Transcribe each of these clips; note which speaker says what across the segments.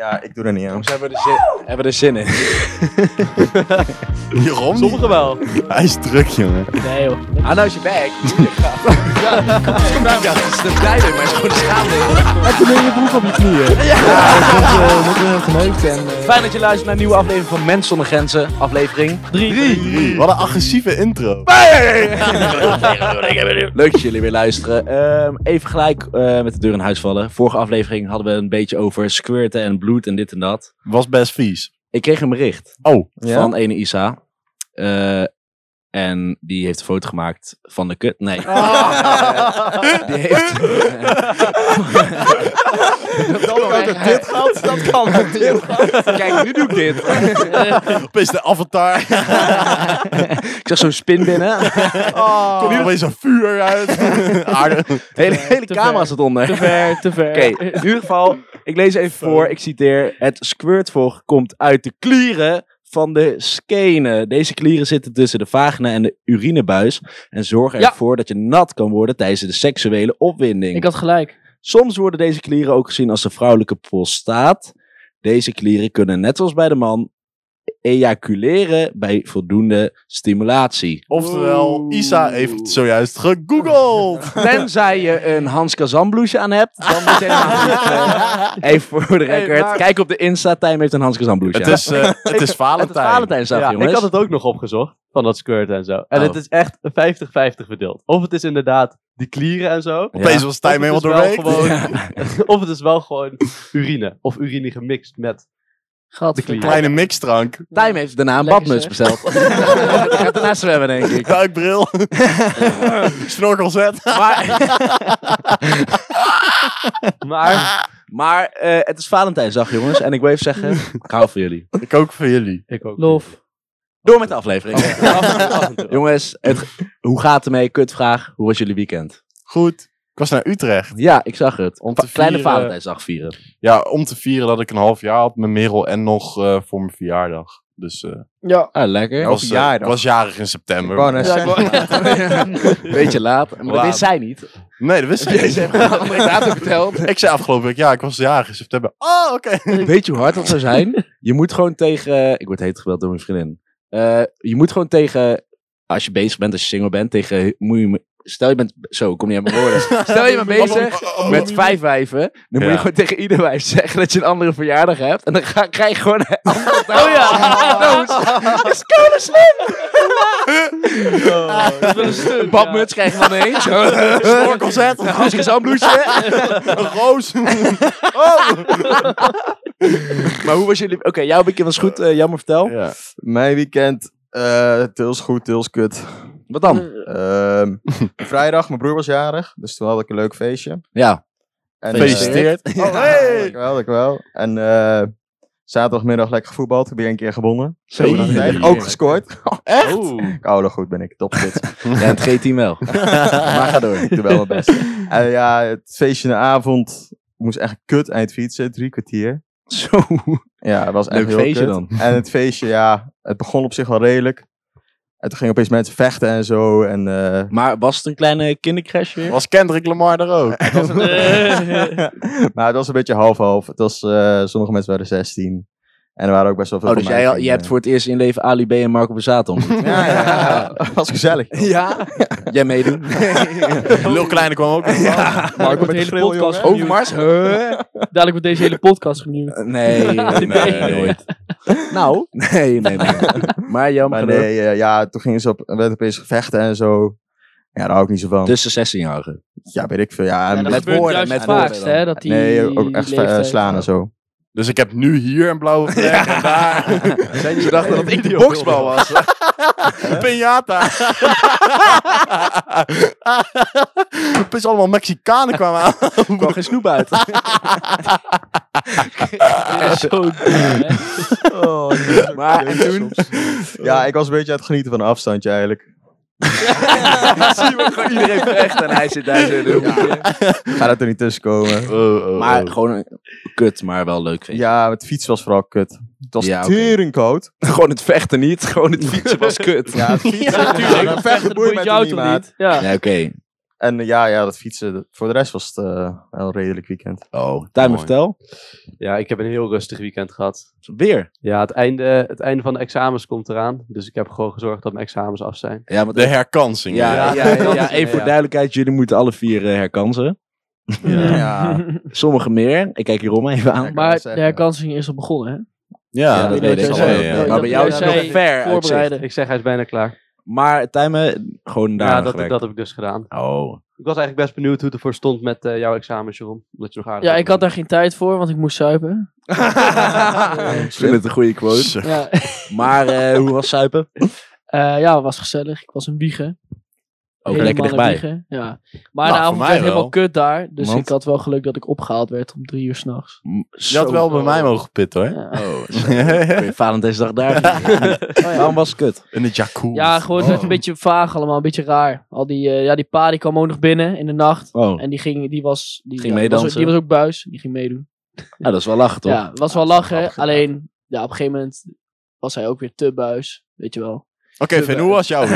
Speaker 1: Ja, ik doe er niet aan.
Speaker 2: Soms hebben we er zin, hebben we er zin in.
Speaker 3: Jeroen?
Speaker 2: Sommigen wel.
Speaker 3: Hij is druk, jongen.
Speaker 4: Nee joh.
Speaker 2: Hou nou je bek. Ja, dat is de blijde, maar het is gewoon de schaamde.
Speaker 4: Heb je je broek op je knieën? Ja, dat wordt heel geneukt en... eh,
Speaker 2: Fijn dat je luistert naar een nieuwe aflevering van Mens zonder Grenzen. Aflevering
Speaker 4: drie.
Speaker 3: Wat een agressieve intro.
Speaker 2: Leuk dat jullie weer luisteren. Ehm, even gelijk eh, met de deur in huis vallen. Vorige aflevering hadden we een beetje over squirten en bloed en dit en dat.
Speaker 3: Was best vies.
Speaker 2: Ik kreeg een bericht
Speaker 3: Oh,
Speaker 1: Ja?
Speaker 2: van ene Isa. Eh, en die heeft een foto gemaakt van de kut. Nee. Die heeft...
Speaker 1: dit gaat, dat kan.
Speaker 2: Kijk, nu doe ik dit.
Speaker 3: opeens de avatar.
Speaker 2: ik zag zo'n spin binnen.
Speaker 3: Komt er opeens een vuur uit. Aarde.
Speaker 2: hele
Speaker 4: ver,
Speaker 2: hele
Speaker 4: te
Speaker 2: camera
Speaker 4: ver.
Speaker 2: zat onder.
Speaker 4: Te ver, te ver.
Speaker 5: Eh,
Speaker 2: Oké, in ieder geval, ik lees even voor, ik citeer. Het squirtvocht komt uit de klieren van de skenen. Deze klieren zitten tussen de vagina en de urinebuis en zorgen
Speaker 4: Ja.
Speaker 2: ervoor dat je nat kan worden tijdens de seksuele opwinding.
Speaker 4: Ik had gelijk.
Speaker 2: Soms worden deze klieren ook gezien als de vrouwelijke prostaat. Deze klieren kunnen net zoals bij de man ejaculeren bij voldoende stimulatie.
Speaker 3: Oftewel, Isa heeft zojuist gegoogeld.
Speaker 2: Tenzij je een Hans Kazan blouse aan hebt, dan moet je helemaal goed, eh, Even voor de record.
Speaker 1: maar-
Speaker 2: Kijk op de Insta. Tijm heeft een Hans Kazan blouse.
Speaker 3: Het
Speaker 2: aan.
Speaker 3: is, eh, het is
Speaker 2: het is
Speaker 3: Valentijn.
Speaker 2: Valentijnsdag,
Speaker 6: Ja,
Speaker 2: jongens.
Speaker 6: ik had het ook nog opgezocht. Van dat squirt en zo. En
Speaker 2: Oh.
Speaker 6: het is echt 50-50 verdeeld. Of het is inderdaad die klieren en zo.
Speaker 2: Ja.
Speaker 3: Opeens was Tijm
Speaker 6: Of
Speaker 3: helemaal
Speaker 6: het is
Speaker 3: doorweekt.
Speaker 6: wel gewoon- Of het is wel gewoon urine. Of urine gemixt met.
Speaker 4: Gat.
Speaker 6: De klier.
Speaker 3: Kleine mixdrank.
Speaker 2: Tijm heeft daarna een
Speaker 4: Lekker,
Speaker 2: badmuts
Speaker 4: zeg.
Speaker 2: besteld. Die gaat daarna zwemmen, denk ik.
Speaker 3: Duikbril. Snorkelzet.
Speaker 2: Maar,
Speaker 5: Ah,
Speaker 6: Maar
Speaker 2: maar eh, het is Valentijnsdag, jongens. En ik wil even zeggen, ik hou van jullie.
Speaker 3: Ik ook voor jullie.
Speaker 6: ik ook.
Speaker 4: Lof.
Speaker 2: Door met de aflevering.
Speaker 6: niet.
Speaker 2: Jongens, het, hoe gaat het ermee? Kutvraag. Hoe was jullie weekend?
Speaker 3: Goed. Ik was naar Utrecht.
Speaker 2: Ja, ik zag het.
Speaker 3: Om
Speaker 2: Pa-
Speaker 3: te
Speaker 2: Kleine
Speaker 3: vieren-
Speaker 2: Valentijnsdag vieren.
Speaker 3: Ja, om te vieren dat ik een half jaar had met Merel en nog eh, voor mijn verjaardag. Dus eh
Speaker 4: Ja.
Speaker 2: Ah, lekker.
Speaker 3: was, eh,
Speaker 1: verjaardag.
Speaker 3: was jarig in september.
Speaker 1: Gewoon eh, een
Speaker 4: Ja, ik wou-
Speaker 2: Beetje laat. Maar dat
Speaker 3: Laat.
Speaker 2: wist zij niet.
Speaker 3: Nee, dat wist ik
Speaker 2: Ze
Speaker 3: niet.
Speaker 2: heeft me andere datum verteld.
Speaker 3: Ik zei afgelopen week, ja, ik was jarig in september. Oh, oké.
Speaker 2: Weet je hoe hard dat zou zijn? Je moet gewoon tegen. eh, ik word heet gebeld door mijn vriendin. Eh, je moet gewoon tegen. Als je bezig bent, als je single bent, tegen. Moet je, stel je bent. Zo, ik kom niet aan mijn woorden. Stel Oh, je bent bezig
Speaker 3: Oh,
Speaker 2: met vijf wijven. Dan moet je
Speaker 3: Ja.
Speaker 2: gewoon tegen ieder wijf zeggen dat je een andere verjaardag hebt. En dan ga, krijg je gewoon. een andere
Speaker 4: Oh ja.
Speaker 2: doos. Dat is koude slim.
Speaker 4: Dat is een stunt,
Speaker 2: Een badmuts krijg je dan ineens.
Speaker 3: Snorkelzet,
Speaker 2: Als ik zo'n bloesje.
Speaker 3: een roos.
Speaker 2: Maar hoe was jullie. Oké, jouw weekend was goed. eh, jammer, vertel.
Speaker 3: Ja.
Speaker 1: Mijn weekend, eh deels goed, deels kut.
Speaker 2: Wat dan?
Speaker 4: Eh.
Speaker 1: Ehm, vrijdag, mijn broer was jarig, dus toen had ik een leuk feestje.
Speaker 2: Ja.
Speaker 1: En, eh,
Speaker 3: Gefeliciteerd.
Speaker 1: oh, hey. Dankjewel, dankjewel. En eh, zaterdagmiddag lekker gevoetbald, heb weer een keer gewonnen.
Speaker 2: Zo,
Speaker 3: dan
Speaker 1: Vrijdag
Speaker 2: dan
Speaker 1: Ook gescoord.
Speaker 3: Echt?
Speaker 2: Oh.
Speaker 1: Koude goed ben ik, topfit.
Speaker 2: Ja, het G10 wel. maar ga door.
Speaker 1: Ik doe wel mijn best. En ja, het feestje in de avond moest echt kut eind fietsen, drie kwartier.
Speaker 2: Zo.
Speaker 1: Ja, het was echt
Speaker 2: Leuk
Speaker 1: heel
Speaker 2: feestje
Speaker 1: kut.
Speaker 2: dan.
Speaker 1: En het feestje, ja, het begon op zich wel redelijk. En toen gingen opeens mensen vechten en zo. En eh,
Speaker 2: Maar was het een kleine kindercrash weer?
Speaker 3: Was Kendrick Lamar er ook?
Speaker 1: maar het was een beetje half-half. Het was, eh, sommige mensen waren 16. En er waren ook best wel veel
Speaker 2: Oh, dus
Speaker 1: van
Speaker 2: jij,
Speaker 1: mij.
Speaker 2: je hebt voor het eerst in je leven Ali B en Marco Bezaat ontmoet.
Speaker 1: Ja, ja, ja. was gezellig.
Speaker 2: ja? Jij meedoen?
Speaker 3: Lil Kleine kwam ook. Ja.
Speaker 1: Maar
Speaker 4: wordt de hele podcast
Speaker 2: Over Mars? Huh?
Speaker 4: Dadelijk wordt deze hele podcast gemute.
Speaker 2: Nee, nee, nooit. Nou? Nee, nee, nee. Maar jammer
Speaker 1: Maar
Speaker 2: genoeg.
Speaker 1: nee, eh, ja, toen gingen ze op, werd opeens gevechten en zo. Ja, daar hou ik niet zo van.
Speaker 2: Tussen 16-jarigen.
Speaker 1: ja, weet ik veel. Ja,
Speaker 4: Ja,
Speaker 1: en-
Speaker 4: dat
Speaker 2: met
Speaker 4: gebeurt
Speaker 2: woorden,
Speaker 4: juist
Speaker 2: met
Speaker 4: het
Speaker 2: woorden
Speaker 4: vaakst,
Speaker 2: dan.
Speaker 4: hè, dat die
Speaker 1: nee, ook echt eh,
Speaker 4: leeftijd-
Speaker 1: slaan en zo.
Speaker 3: Dus ik heb nu hier een blauwe vlek en daar.
Speaker 2: Zijn je dachten dat ik die boksbal was?
Speaker 3: Een piñata. Opeens allemaal Mexicanen kwamen aan.
Speaker 2: Er kwam geen snoep uit.
Speaker 4: Ja, zo dom, hè. Oh,
Speaker 2: Maar en toen...
Speaker 1: Ja, ik was een beetje aan het genieten van een afstandje eigenlijk.
Speaker 2: zie je gewoon iedereen vecht en hij zit daar zo in de hoekje.
Speaker 1: Ga dat er niet tussen komen.
Speaker 2: Maar gewoon een kut, maar wel leuk vind
Speaker 1: Ja, het fiets was vooral kut. Het was
Speaker 2: Ja, oké.
Speaker 1: tering koud.
Speaker 2: Gewoon het vechten niet, gewoon het fietsen was kut.
Speaker 1: Ja, het fietsen.
Speaker 4: Ja,
Speaker 1: Ja,
Speaker 4: natuurlijk.
Speaker 1: vechten boeit
Speaker 4: Boeit
Speaker 1: mij
Speaker 4: jou
Speaker 1: toch niet,
Speaker 4: toch
Speaker 1: maat.
Speaker 4: niet? Ja.
Speaker 2: Nee, oké.
Speaker 1: En En eh, ja, ja, dat fietsen. dat- Voor de rest was het eh, wel een redelijk weekend.
Speaker 2: Oh, Tuin,
Speaker 3: mooi.
Speaker 2: vertel.
Speaker 6: Ja, ik heb een heel rustig weekend gehad.
Speaker 2: Weer.
Speaker 6: Ja, het einde, het einde van de examens komt eraan. Dus ik heb gewoon gezorgd dat mijn examens af zijn.
Speaker 2: Ja, want
Speaker 3: De herkansing.
Speaker 2: ja, ja,
Speaker 6: Ja.
Speaker 2: ja, ja, even voor
Speaker 6: Ja.
Speaker 2: duidelijkheid. Jullie moeten alle vier eh, herkansen.
Speaker 1: Ja.
Speaker 2: Sommigen meer. Ik kijk hierom even aan.
Speaker 1: kan
Speaker 5: Maar
Speaker 1: het
Speaker 5: de
Speaker 1: zeggen.
Speaker 5: herkansing is al begonnen, hè?
Speaker 2: Ja,
Speaker 5: Ja,
Speaker 2: dat
Speaker 5: dat
Speaker 2: weet ik
Speaker 5: weet
Speaker 2: al.
Speaker 5: jij.
Speaker 2: wel,
Speaker 3: Ja,
Speaker 2: ja.
Speaker 3: ja.
Speaker 2: Maar
Speaker 5: Dat
Speaker 2: bij jou
Speaker 5: jij
Speaker 2: is het nog
Speaker 5: zei,
Speaker 2: ver uitzicht.
Speaker 5: Voorbereiden.
Speaker 6: Ik zeg, hij is bijna klaar.
Speaker 2: Maar Tijmen, gewoon daar
Speaker 6: ja,
Speaker 2: aan
Speaker 6: dat,
Speaker 2: gewerkt.
Speaker 6: dat heb ik dus gedaan.
Speaker 2: Oh,
Speaker 6: Ik was eigenlijk best benieuwd hoe het ervoor stond met eh, jouw examens, Jeroen. Omdat je nog aardig
Speaker 5: Ja,
Speaker 6: had
Speaker 5: ik had daar geen tijd voor, want ik moest zuipen.
Speaker 2: ik vind het een goede quote.
Speaker 5: Ja,
Speaker 2: Maar eh, hoe was zuipen?
Speaker 5: Eh, ja, het was gezellig. Ik was in Wiegen.
Speaker 2: Ook
Speaker 5: Helemaal
Speaker 2: lekker
Speaker 5: in
Speaker 2: dichtbij.
Speaker 5: Wiegen, Ja. Maar
Speaker 3: Nou,
Speaker 5: de
Speaker 3: voor
Speaker 5: avond
Speaker 3: mij
Speaker 5: werd
Speaker 3: wel.
Speaker 5: helemaal kut daar. Dus
Speaker 2: Want?
Speaker 5: ik had wel geluk dat ik opgehaald werd om drie uur s'nachts.
Speaker 2: Mm,
Speaker 3: Je had wel bij mij mogen pitten hoor.
Speaker 5: Ja.
Speaker 2: Oh, kun je Valentijnsdag daar Waarom was het kut?
Speaker 3: In de jacuzzi. Oh.
Speaker 5: ja, gewoon het werd
Speaker 2: Oh.
Speaker 5: een beetje vaag allemaal. Een beetje raar. Al die, eh, ja, die pa die kwam ook nog binnen in de nacht.
Speaker 2: Oh,
Speaker 5: En die ging, die was, die,
Speaker 2: Ging
Speaker 5: ja, die was ook-
Speaker 2: meedansen.
Speaker 5: die was ook buis. Die ging meedoen.
Speaker 2: nou, dat is wel lachen toch?
Speaker 5: Ja, het was wel lachen. Alleen, ja, op een gegeven moment was hij ook weer te buis. Weet je wel.
Speaker 3: Oké, Vin, hoe was jouw
Speaker 2: Ja,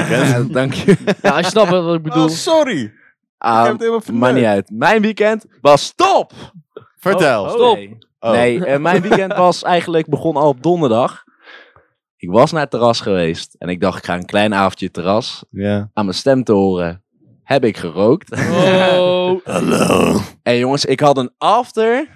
Speaker 3: weekend?
Speaker 2: dank je.
Speaker 5: Ja, als je snapt wat ik bedoel.
Speaker 1: Oh, sorry. Ik heb
Speaker 2: Ah,
Speaker 1: het helemaal
Speaker 2: maakt niet
Speaker 1: verneut.
Speaker 2: uit. Mijn weekend was top!
Speaker 3: Vertel.
Speaker 2: Stop. Nee,
Speaker 3: Oh.
Speaker 2: Nee, eh, mijn weekend was eigenlijk begon al op donderdag. Ik was naar het terras geweest en ik dacht ik ga een klein avondje terras
Speaker 3: Ja.
Speaker 2: aan mijn stem te horen. Heb ik gerookt.
Speaker 5: Oh.
Speaker 3: Hallo.
Speaker 2: En jongens, ik had een after.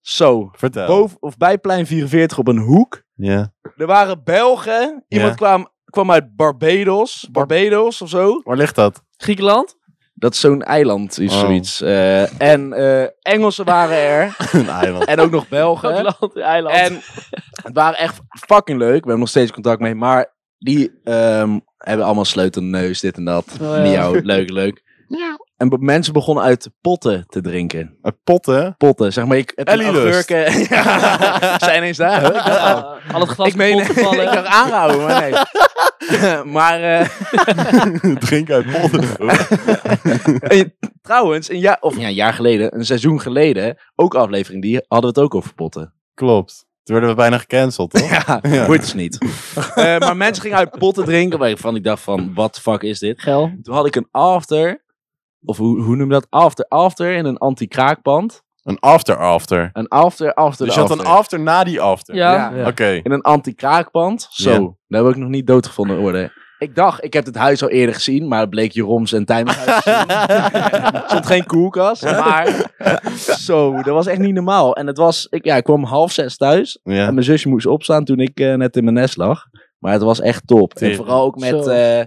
Speaker 2: Zo,
Speaker 3: Vertel.
Speaker 2: boven of bij plein 44 op een hoek.
Speaker 3: Ja.
Speaker 2: Er waren Belgen. Iemand
Speaker 3: Ja.
Speaker 2: kwam, kwam uit Barbados. Barbados of zo.
Speaker 3: Waar ligt dat?
Speaker 5: Griekenland?
Speaker 2: Dat is zo'n eiland is
Speaker 3: Oh.
Speaker 2: zoiets. Eh, en eh, Engelsen waren er.
Speaker 3: Een eiland.
Speaker 2: en ook nog Belgen.
Speaker 5: Griekenland, eiland.
Speaker 2: En het waren echt fucking leuk. We hebben nog steeds contact mee. Maar die ehm, hebben allemaal sleutelneus, dit en dat.
Speaker 5: ja.
Speaker 2: Miauw, leuk, leuk. En be- mensen begonnen uit potten te drinken.
Speaker 3: Een pot, hè?
Speaker 2: Potten, zeg maar. Ik, het
Speaker 3: Ellie Lust.
Speaker 2: Agurken, ja, zijn eens daar. hè? Ik dacht al,
Speaker 5: Ja, ah, al het glas
Speaker 2: ik meen, ik dacht aanhouden, maar nee. maar eh,
Speaker 3: Drink uit potten.
Speaker 2: en- trouwens, een jaar, of ja, een jaar geleden, een seizoen geleden, ook aflevering die, hadden we het ook over potten.
Speaker 3: Klopt. Toen werden we bijna gecanceld, toch?
Speaker 2: Ja, wordt dus niet. Eh, maar mensen gingen uit potten drinken, waarvan ik dacht van, wat fuck is dit?
Speaker 5: Gel.
Speaker 2: Toen had ik een after, of hoe, hoe noem je dat? After, after in een anti-kraakpand.
Speaker 3: Een after-after.
Speaker 2: Een after, after,
Speaker 3: Dus je had
Speaker 2: after.
Speaker 3: een after na die after?
Speaker 5: Ja.
Speaker 2: Ja.
Speaker 3: Oké.
Speaker 2: in een anti-kraakpand. Zo,
Speaker 3: Ja.
Speaker 2: daar heb ik nog niet doodgevonden worden. Ik dacht, ik heb het huis al eerder gezien, maar het bleek Jeroms en Tijmens huis te zien. Er stond geen koelkast, maar zo, dat was echt niet normaal. En het was, ik, ja, ik kwam half zes thuis
Speaker 3: Ja.
Speaker 2: en mijn zusje moest opstaan toen ik eh, net in mijn nest lag. Maar het was echt top. En
Speaker 3: Tering.
Speaker 2: vooral ook met,
Speaker 5: Zo.
Speaker 2: eh,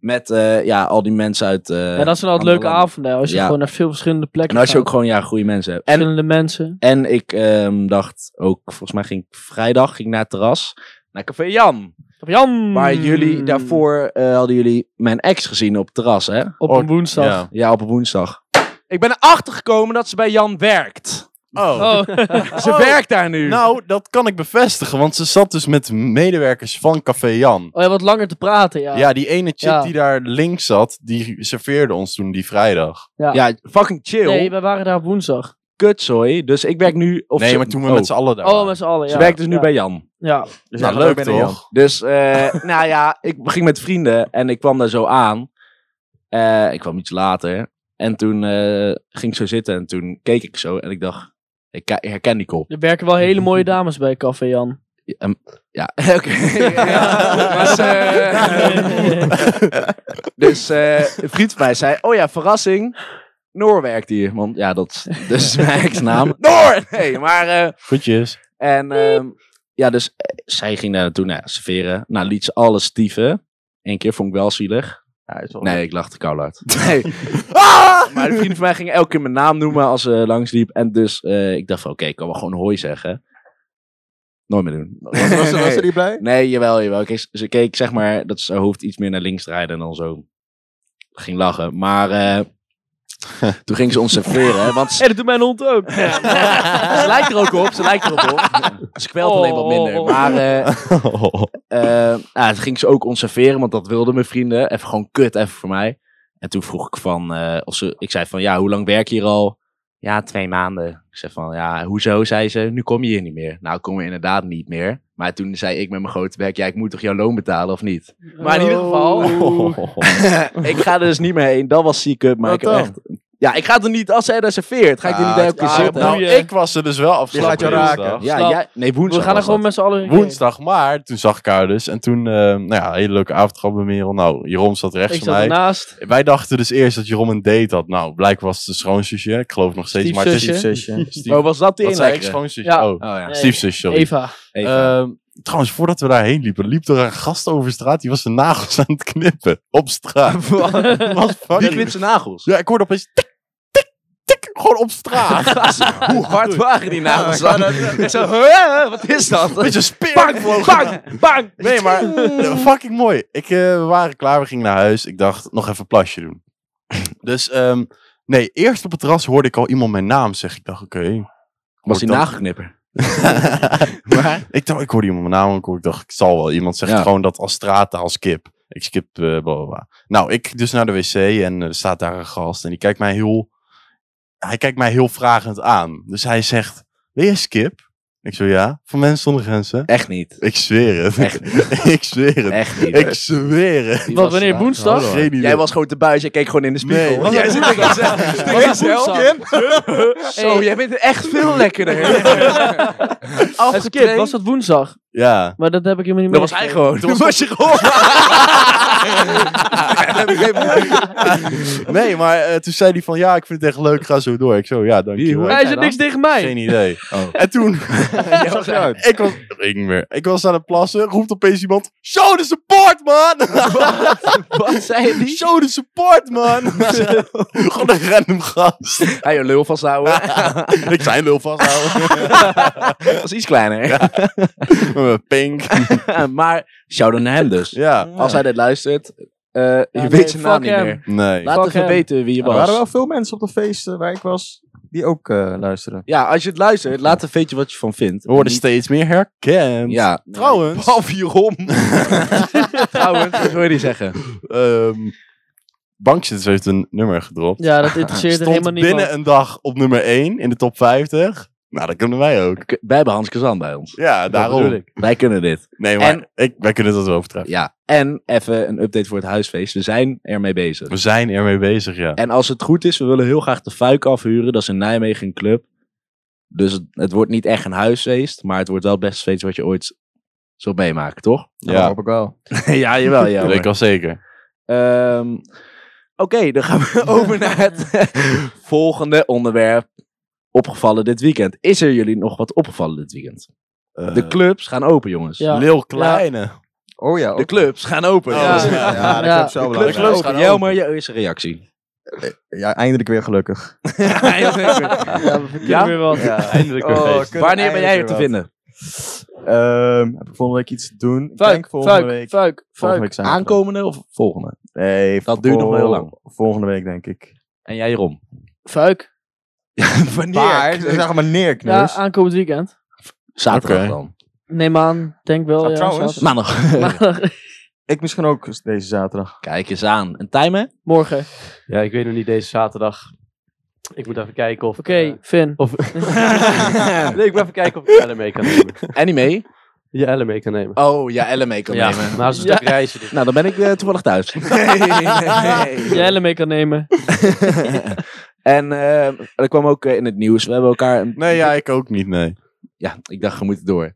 Speaker 2: met eh, ja, al die mensen uit... eh,
Speaker 5: Ja, dat zijn altijd leuke
Speaker 2: andere landen.
Speaker 5: avonden. hè, Als je
Speaker 2: Ja.
Speaker 5: gewoon naar veel verschillende plekken
Speaker 2: En als je
Speaker 5: gaat.
Speaker 2: ook gewoon ja, goede mensen hebt. En
Speaker 5: Verschillende mensen.
Speaker 2: En ik ehm, dacht ook, volgens mij ging ik vrijdag ging ik naar het terras, naar Café Jan.
Speaker 5: Jan!
Speaker 2: Maar jullie daarvoor eh, hadden jullie mijn ex gezien op het terras, hè?
Speaker 5: Op
Speaker 3: Oh,
Speaker 5: een woensdag.
Speaker 3: Ja.
Speaker 2: Ja, op een woensdag. Ik ben erachter gekomen dat ze bij Jan werkt.
Speaker 3: Oh.
Speaker 5: Oh,
Speaker 2: Ze werkt daar nu.
Speaker 3: Nou, dat kan ik bevestigen, want ze zat dus met medewerkers van Café Jan.
Speaker 5: oh ja, wat langer te praten, ja.
Speaker 3: Ja, die ene chick
Speaker 5: Ja.
Speaker 3: die daar links zat, die serveerde ons toen die vrijdag.
Speaker 2: ja, fucking chill.
Speaker 5: Nee, wij waren daar op woensdag.
Speaker 2: Kutzooi. Dus ik werk nu... Of
Speaker 3: nee,
Speaker 2: ze-
Speaker 3: maar toen we
Speaker 2: Oh.
Speaker 3: met z'n allen daar
Speaker 5: Oh,
Speaker 3: waren.
Speaker 5: met z'n allen, ja.
Speaker 2: Ze werkt dus nu
Speaker 5: Ja.
Speaker 2: bij Jan.
Speaker 5: Ja.
Speaker 1: Dus
Speaker 3: Nou,
Speaker 1: ja, leuk
Speaker 3: leuk
Speaker 1: ben ik Jan.
Speaker 3: toch?
Speaker 2: Dus, eh, nou ja, ik ging met vrienden en ik kwam daar zo aan. Eh, ik kwam iets later. En toen eh, ging ik zo zitten en toen keek ik zo en ik dacht, ik ke- herken die kop.
Speaker 5: Er werken wel hele mooie dames bij Café Jan.
Speaker 2: Ja, ehm, ja, oké. Ja, maar ze- dus eh, een vriend van mij zei, oh ja, verrassing. Noor werkt hier, want ja, dat is dus mijn ex-naam. Noor! Nee, maar... eh,
Speaker 3: Goedjes.
Speaker 2: en ehm, ja, dus eh, zij ging daar naartoe, nou ja, serveren. Nou, liet ze alles stieven. Eén keer vond ik wel zielig.
Speaker 1: Ja, is wel
Speaker 2: Nee, ik lachte koud uit. Nee. Ah! Maar de vrienden van mij gingen elke keer mijn naam noemen als ze langsliep. En dus eh, ik dacht van, oké, ik kan wel gewoon hooi zeggen. Nooit meer doen.
Speaker 1: Was, was, was
Speaker 2: Nee.
Speaker 1: er niet blij?
Speaker 2: Nee, jawel, jawel. Kees- ze keek zeg maar dat ze haar hoofd iets meer naar links draaide en dan zo ging lachen. Maar eh, toen ging ze ons serveren, want
Speaker 5: Hé, dat doet mijn hond ook.
Speaker 2: ze lijkt er ook op, ze lijkt er ook op. Ze kwelt alleen wat
Speaker 5: Oh.
Speaker 2: minder. Maar eh, eh, nou, het ging ze ook ons serveren, want dat wilden mijn vrienden. Even gewoon kut, even voor mij. En toen vroeg ik van, eh, of ze, ik zei van, ja, hoe lang werk je hier al? Ja, twee maanden. Ik zeg van, ja, hoezo, zei ze, nu kom je hier niet meer. Nou, kom je inderdaad niet meer. Maar toen zei ik met mijn grote bek, ja, ik moet toch jouw loon betalen of niet? Maar in ieder
Speaker 5: Oh.
Speaker 2: geval, ik ga er dus niet meer heen. Dat was ziek up, maar
Speaker 1: Wat
Speaker 2: ik heb
Speaker 1: dan?
Speaker 2: echt... Ja, ik ga er niet, als zij reserveert, ga ik er niet
Speaker 1: Ah,
Speaker 2: elke keer
Speaker 5: ah,
Speaker 2: zitten.
Speaker 5: nou,
Speaker 3: nou, ik was er dus wel
Speaker 1: Die gaat
Speaker 3: afgelopen
Speaker 1: je raken.
Speaker 3: dinsdag.
Speaker 2: ja,
Speaker 5: snap.
Speaker 2: jij- nee, woensdag
Speaker 5: We gaan er
Speaker 2: was
Speaker 5: gewoon met z'n allen heen.
Speaker 3: Woensdag, maar toen zag ik haar dus. En toen, eh, nou ja, hele leuke avond gehad bij Merel. Nou, Jeroen zat rechts
Speaker 5: Ik
Speaker 3: van
Speaker 5: zat
Speaker 3: mij.
Speaker 5: ernaast.
Speaker 3: Wij dachten dus eerst dat Jeroen een date had. Nou, blijkbaar was het een schoonzusje. Ik geloof nog steeds. Maar het is
Speaker 5: Stiefzusje.
Speaker 1: Zusje.
Speaker 2: dat.
Speaker 3: Stief...
Speaker 2: Oh, was dat die
Speaker 3: Wat zei ik?
Speaker 2: inlekkere?
Speaker 3: Schoonzusje?
Speaker 5: Ja.
Speaker 3: Oh,
Speaker 2: Oh ja.
Speaker 5: Nee.
Speaker 3: stiefzusje, sorry.
Speaker 5: Eva.
Speaker 2: Eva.
Speaker 3: Ehm, trouwens, voordat we daarheen liepen, liep er een gast over straat. Die was zijn nagels aan het knippen. Op
Speaker 2: Eh,
Speaker 3: straat. Was
Speaker 2: die
Speaker 3: fucking-
Speaker 2: knipt zijn nagels.
Speaker 3: Ja, ik hoorde opeens tik, tik, tik. Gewoon op straat.
Speaker 2: Hoe hard waren die nagels
Speaker 1: Ja,
Speaker 2: dan? Ik zo, "Huh? wat is dat?
Speaker 3: Beetje speer.
Speaker 2: Bang, bang, bang.
Speaker 3: Nee, maar eh, fucking mooi. Ik, eh, we waren klaar, we gingen naar huis. Ik dacht, nog even een plasje doen. Dus, ehm, nee, eerst op het terras hoorde ik al iemand mijn naam zeggen. Ik dacht, oké.
Speaker 2: Was die
Speaker 3: dan-
Speaker 2: nagelknipper?
Speaker 3: ik dacht, ik hoorde iemand mijn naam ook. Ik dacht, ik zal wel. Iemand zegt
Speaker 2: Ja.
Speaker 3: gewoon dat als strata, als kip. Ik skip, eh bla, bla, bla. Nou, ik dus naar de wc en eh, er staat daar een gast. En die kijkt mij heel... Hij kijkt mij heel vragend aan. Dus hij zegt, wil je skip? Ik zo, ja. Van mensen zonder grenzen.
Speaker 2: Echt niet.
Speaker 3: Ik zweer het.
Speaker 2: Echt
Speaker 3: ik zweer het.
Speaker 2: Echt niet.
Speaker 3: Ik zweer het.
Speaker 2: Die
Speaker 5: Wat,
Speaker 2: was-
Speaker 5: wanneer? Woensdag?
Speaker 3: Geen idee.
Speaker 2: Jij was gewoon te buis, jij keek gewoon in de spiegel.
Speaker 3: Nee.
Speaker 2: Jij zit er gewoon zelf- zit er gewoon zelf. Zo,
Speaker 5: Hey.
Speaker 2: jij bent echt veel lekkerder.
Speaker 5: Als kind was dat woensdag.
Speaker 3: Ja.
Speaker 5: Maar dat heb ik helemaal niet
Speaker 2: Dat
Speaker 5: meer.
Speaker 2: was hij gewoon. Toen was je gewoon. Dat heb ik helemaal-
Speaker 3: Nee, maar eh, toen zei hij van ja, ik vind het echt leuk, ga zo door. Ik zo, ja, dankjewel.
Speaker 5: Hij zit niks tegen mij.
Speaker 3: Geen idee.
Speaker 2: Oh.
Speaker 3: En toen,
Speaker 2: Jij was uit.
Speaker 3: ik was, dat weet ik niet meer. Ik was aan het plassen, roept opeens iemand, show the support, man!
Speaker 2: Wat zei die?
Speaker 3: show the support, man! Gewoon een random gast.
Speaker 2: Hij een lul vasthouden.
Speaker 3: ik zei lul vasthouden.
Speaker 2: Dat is iets kleiner.
Speaker 3: Met mijn pink.
Speaker 2: Maar shout out naar hem dus.
Speaker 3: Ja.
Speaker 2: Als hij dit luistert, eh, je
Speaker 5: Ja,
Speaker 2: weet
Speaker 5: nee,
Speaker 2: zijn naam
Speaker 5: fuck
Speaker 2: niet
Speaker 5: hem.
Speaker 2: meer.
Speaker 3: Nee.
Speaker 2: Laat
Speaker 5: Fuck
Speaker 2: even
Speaker 5: hem.
Speaker 2: weten wie je
Speaker 1: Er waren wel
Speaker 2: was.
Speaker 1: veel mensen op de feesten waar ik was die ook eh luisteren.
Speaker 2: Ja, als je het luistert, laat even weten wat je van vindt.
Speaker 3: We worden steeds meer herkend.
Speaker 2: Ja.
Speaker 3: Trouwens.
Speaker 2: Behalve Jeroen. Trouwens, wat wil je die zeggen?
Speaker 3: ehm Bankzitters heeft een nummer gedropt.
Speaker 5: Ja, dat interesseert er
Speaker 3: Stond
Speaker 5: helemaal
Speaker 3: binnen
Speaker 5: niet.
Speaker 3: een dag op nummer 1 in de top 50. Nou, dat kunnen wij ook.
Speaker 2: K- Wij hebben Hans Kazan bij ons.
Speaker 3: Ja,
Speaker 2: bedoel
Speaker 3: daarom.
Speaker 2: Wij kunnen dit.
Speaker 3: Nee, maar
Speaker 2: En-
Speaker 3: ik, wij kunnen dat wel overtreffen.
Speaker 2: Ja. En even een update voor het huisfeest. We zijn ermee bezig.
Speaker 3: We zijn ermee bezig, ja.
Speaker 2: En als het goed is, we willen heel graag de Fuik afhuren. Dat is in Nijmegen een club. Dus het, het wordt niet echt een huisfeest, maar het wordt wel het beste feest wat je ooit zult meemaken, toch?
Speaker 1: Ja.
Speaker 3: Ja.
Speaker 1: hoop ik wel.
Speaker 2: ja, jawel,
Speaker 3: dat weet ik al zeker.
Speaker 2: Ehm, Oké, dan gaan we over naar het volgende onderwerp. Opgevallen dit weekend. Is er jullie nog wat opgevallen dit weekend? De clubs gaan open, jongens.
Speaker 5: Ja.
Speaker 3: Lil Kleine.
Speaker 1: Oh ja.
Speaker 2: De
Speaker 1: ook-
Speaker 2: clubs gaan open.
Speaker 3: Oh,
Speaker 2: Ja.
Speaker 1: Ja,
Speaker 5: Ja.
Speaker 1: de club
Speaker 5: Ja.
Speaker 1: is wel
Speaker 2: De
Speaker 1: belangrijk.
Speaker 2: clubs gaan
Speaker 1: Ja,
Speaker 2: open. Jelmer, jouw eerste oh, reactie.
Speaker 1: Ja, eindelijk weer gelukkig.
Speaker 2: Ja?
Speaker 5: Ja? Weer wat.
Speaker 6: Eindelijk
Speaker 1: Oh,
Speaker 6: weer feest.
Speaker 2: Wanneer ben jij er te vinden?
Speaker 1: Ehm, heb ik volgende week iets te doen? Ik denk
Speaker 5: Fuik,
Speaker 1: volgende
Speaker 5: fuik,
Speaker 1: week.
Speaker 5: fuik,
Speaker 1: Volgende
Speaker 5: fuik.
Speaker 1: week zijn we
Speaker 2: Aankomende of volgende?
Speaker 1: er. Nee,
Speaker 2: Dat duurt nog wel heel lang.
Speaker 1: Volgende week denk ik.
Speaker 2: En jij Rom.
Speaker 5: Fuik.
Speaker 1: Maar, ze zeggen maar
Speaker 5: Ja,
Speaker 1: neerknus.
Speaker 5: aankomend weekend.
Speaker 2: Zaterdag
Speaker 3: Oké.
Speaker 2: dan.
Speaker 5: Neem aan, denk wel.
Speaker 1: Ah,
Speaker 5: ja,
Speaker 1: trouwens.
Speaker 5: zaterdag.
Speaker 2: Maandag.
Speaker 5: Maandag.
Speaker 1: ik misschien ook eens deze zaterdag.
Speaker 2: Kijk eens aan. Een timer?
Speaker 5: Morgen.
Speaker 6: Ja, ik weet nog niet deze zaterdag. Ik moet even kijken of...
Speaker 5: Oké,
Speaker 6: eh,
Speaker 5: Finn.
Speaker 6: of nee, ik moet even kijken of ik Ellen mee kan nemen.
Speaker 2: Anime?
Speaker 6: Je Ellen mee kan nemen.
Speaker 2: Oh, ja, LME kan nemen.
Speaker 6: Maar ze is
Speaker 5: Ja.
Speaker 6: een stuk reizen. dus-
Speaker 2: Nou, dan ben ik eh, toevallig thuis. Nee, nee.
Speaker 5: Jij mee kan nemen.
Speaker 2: En eh, er kwam ook eh, in het nieuws, we hebben elkaar... Een...
Speaker 3: Nee, ja, ik ook niet, nee.
Speaker 2: Ja, ik dacht, we moeten door.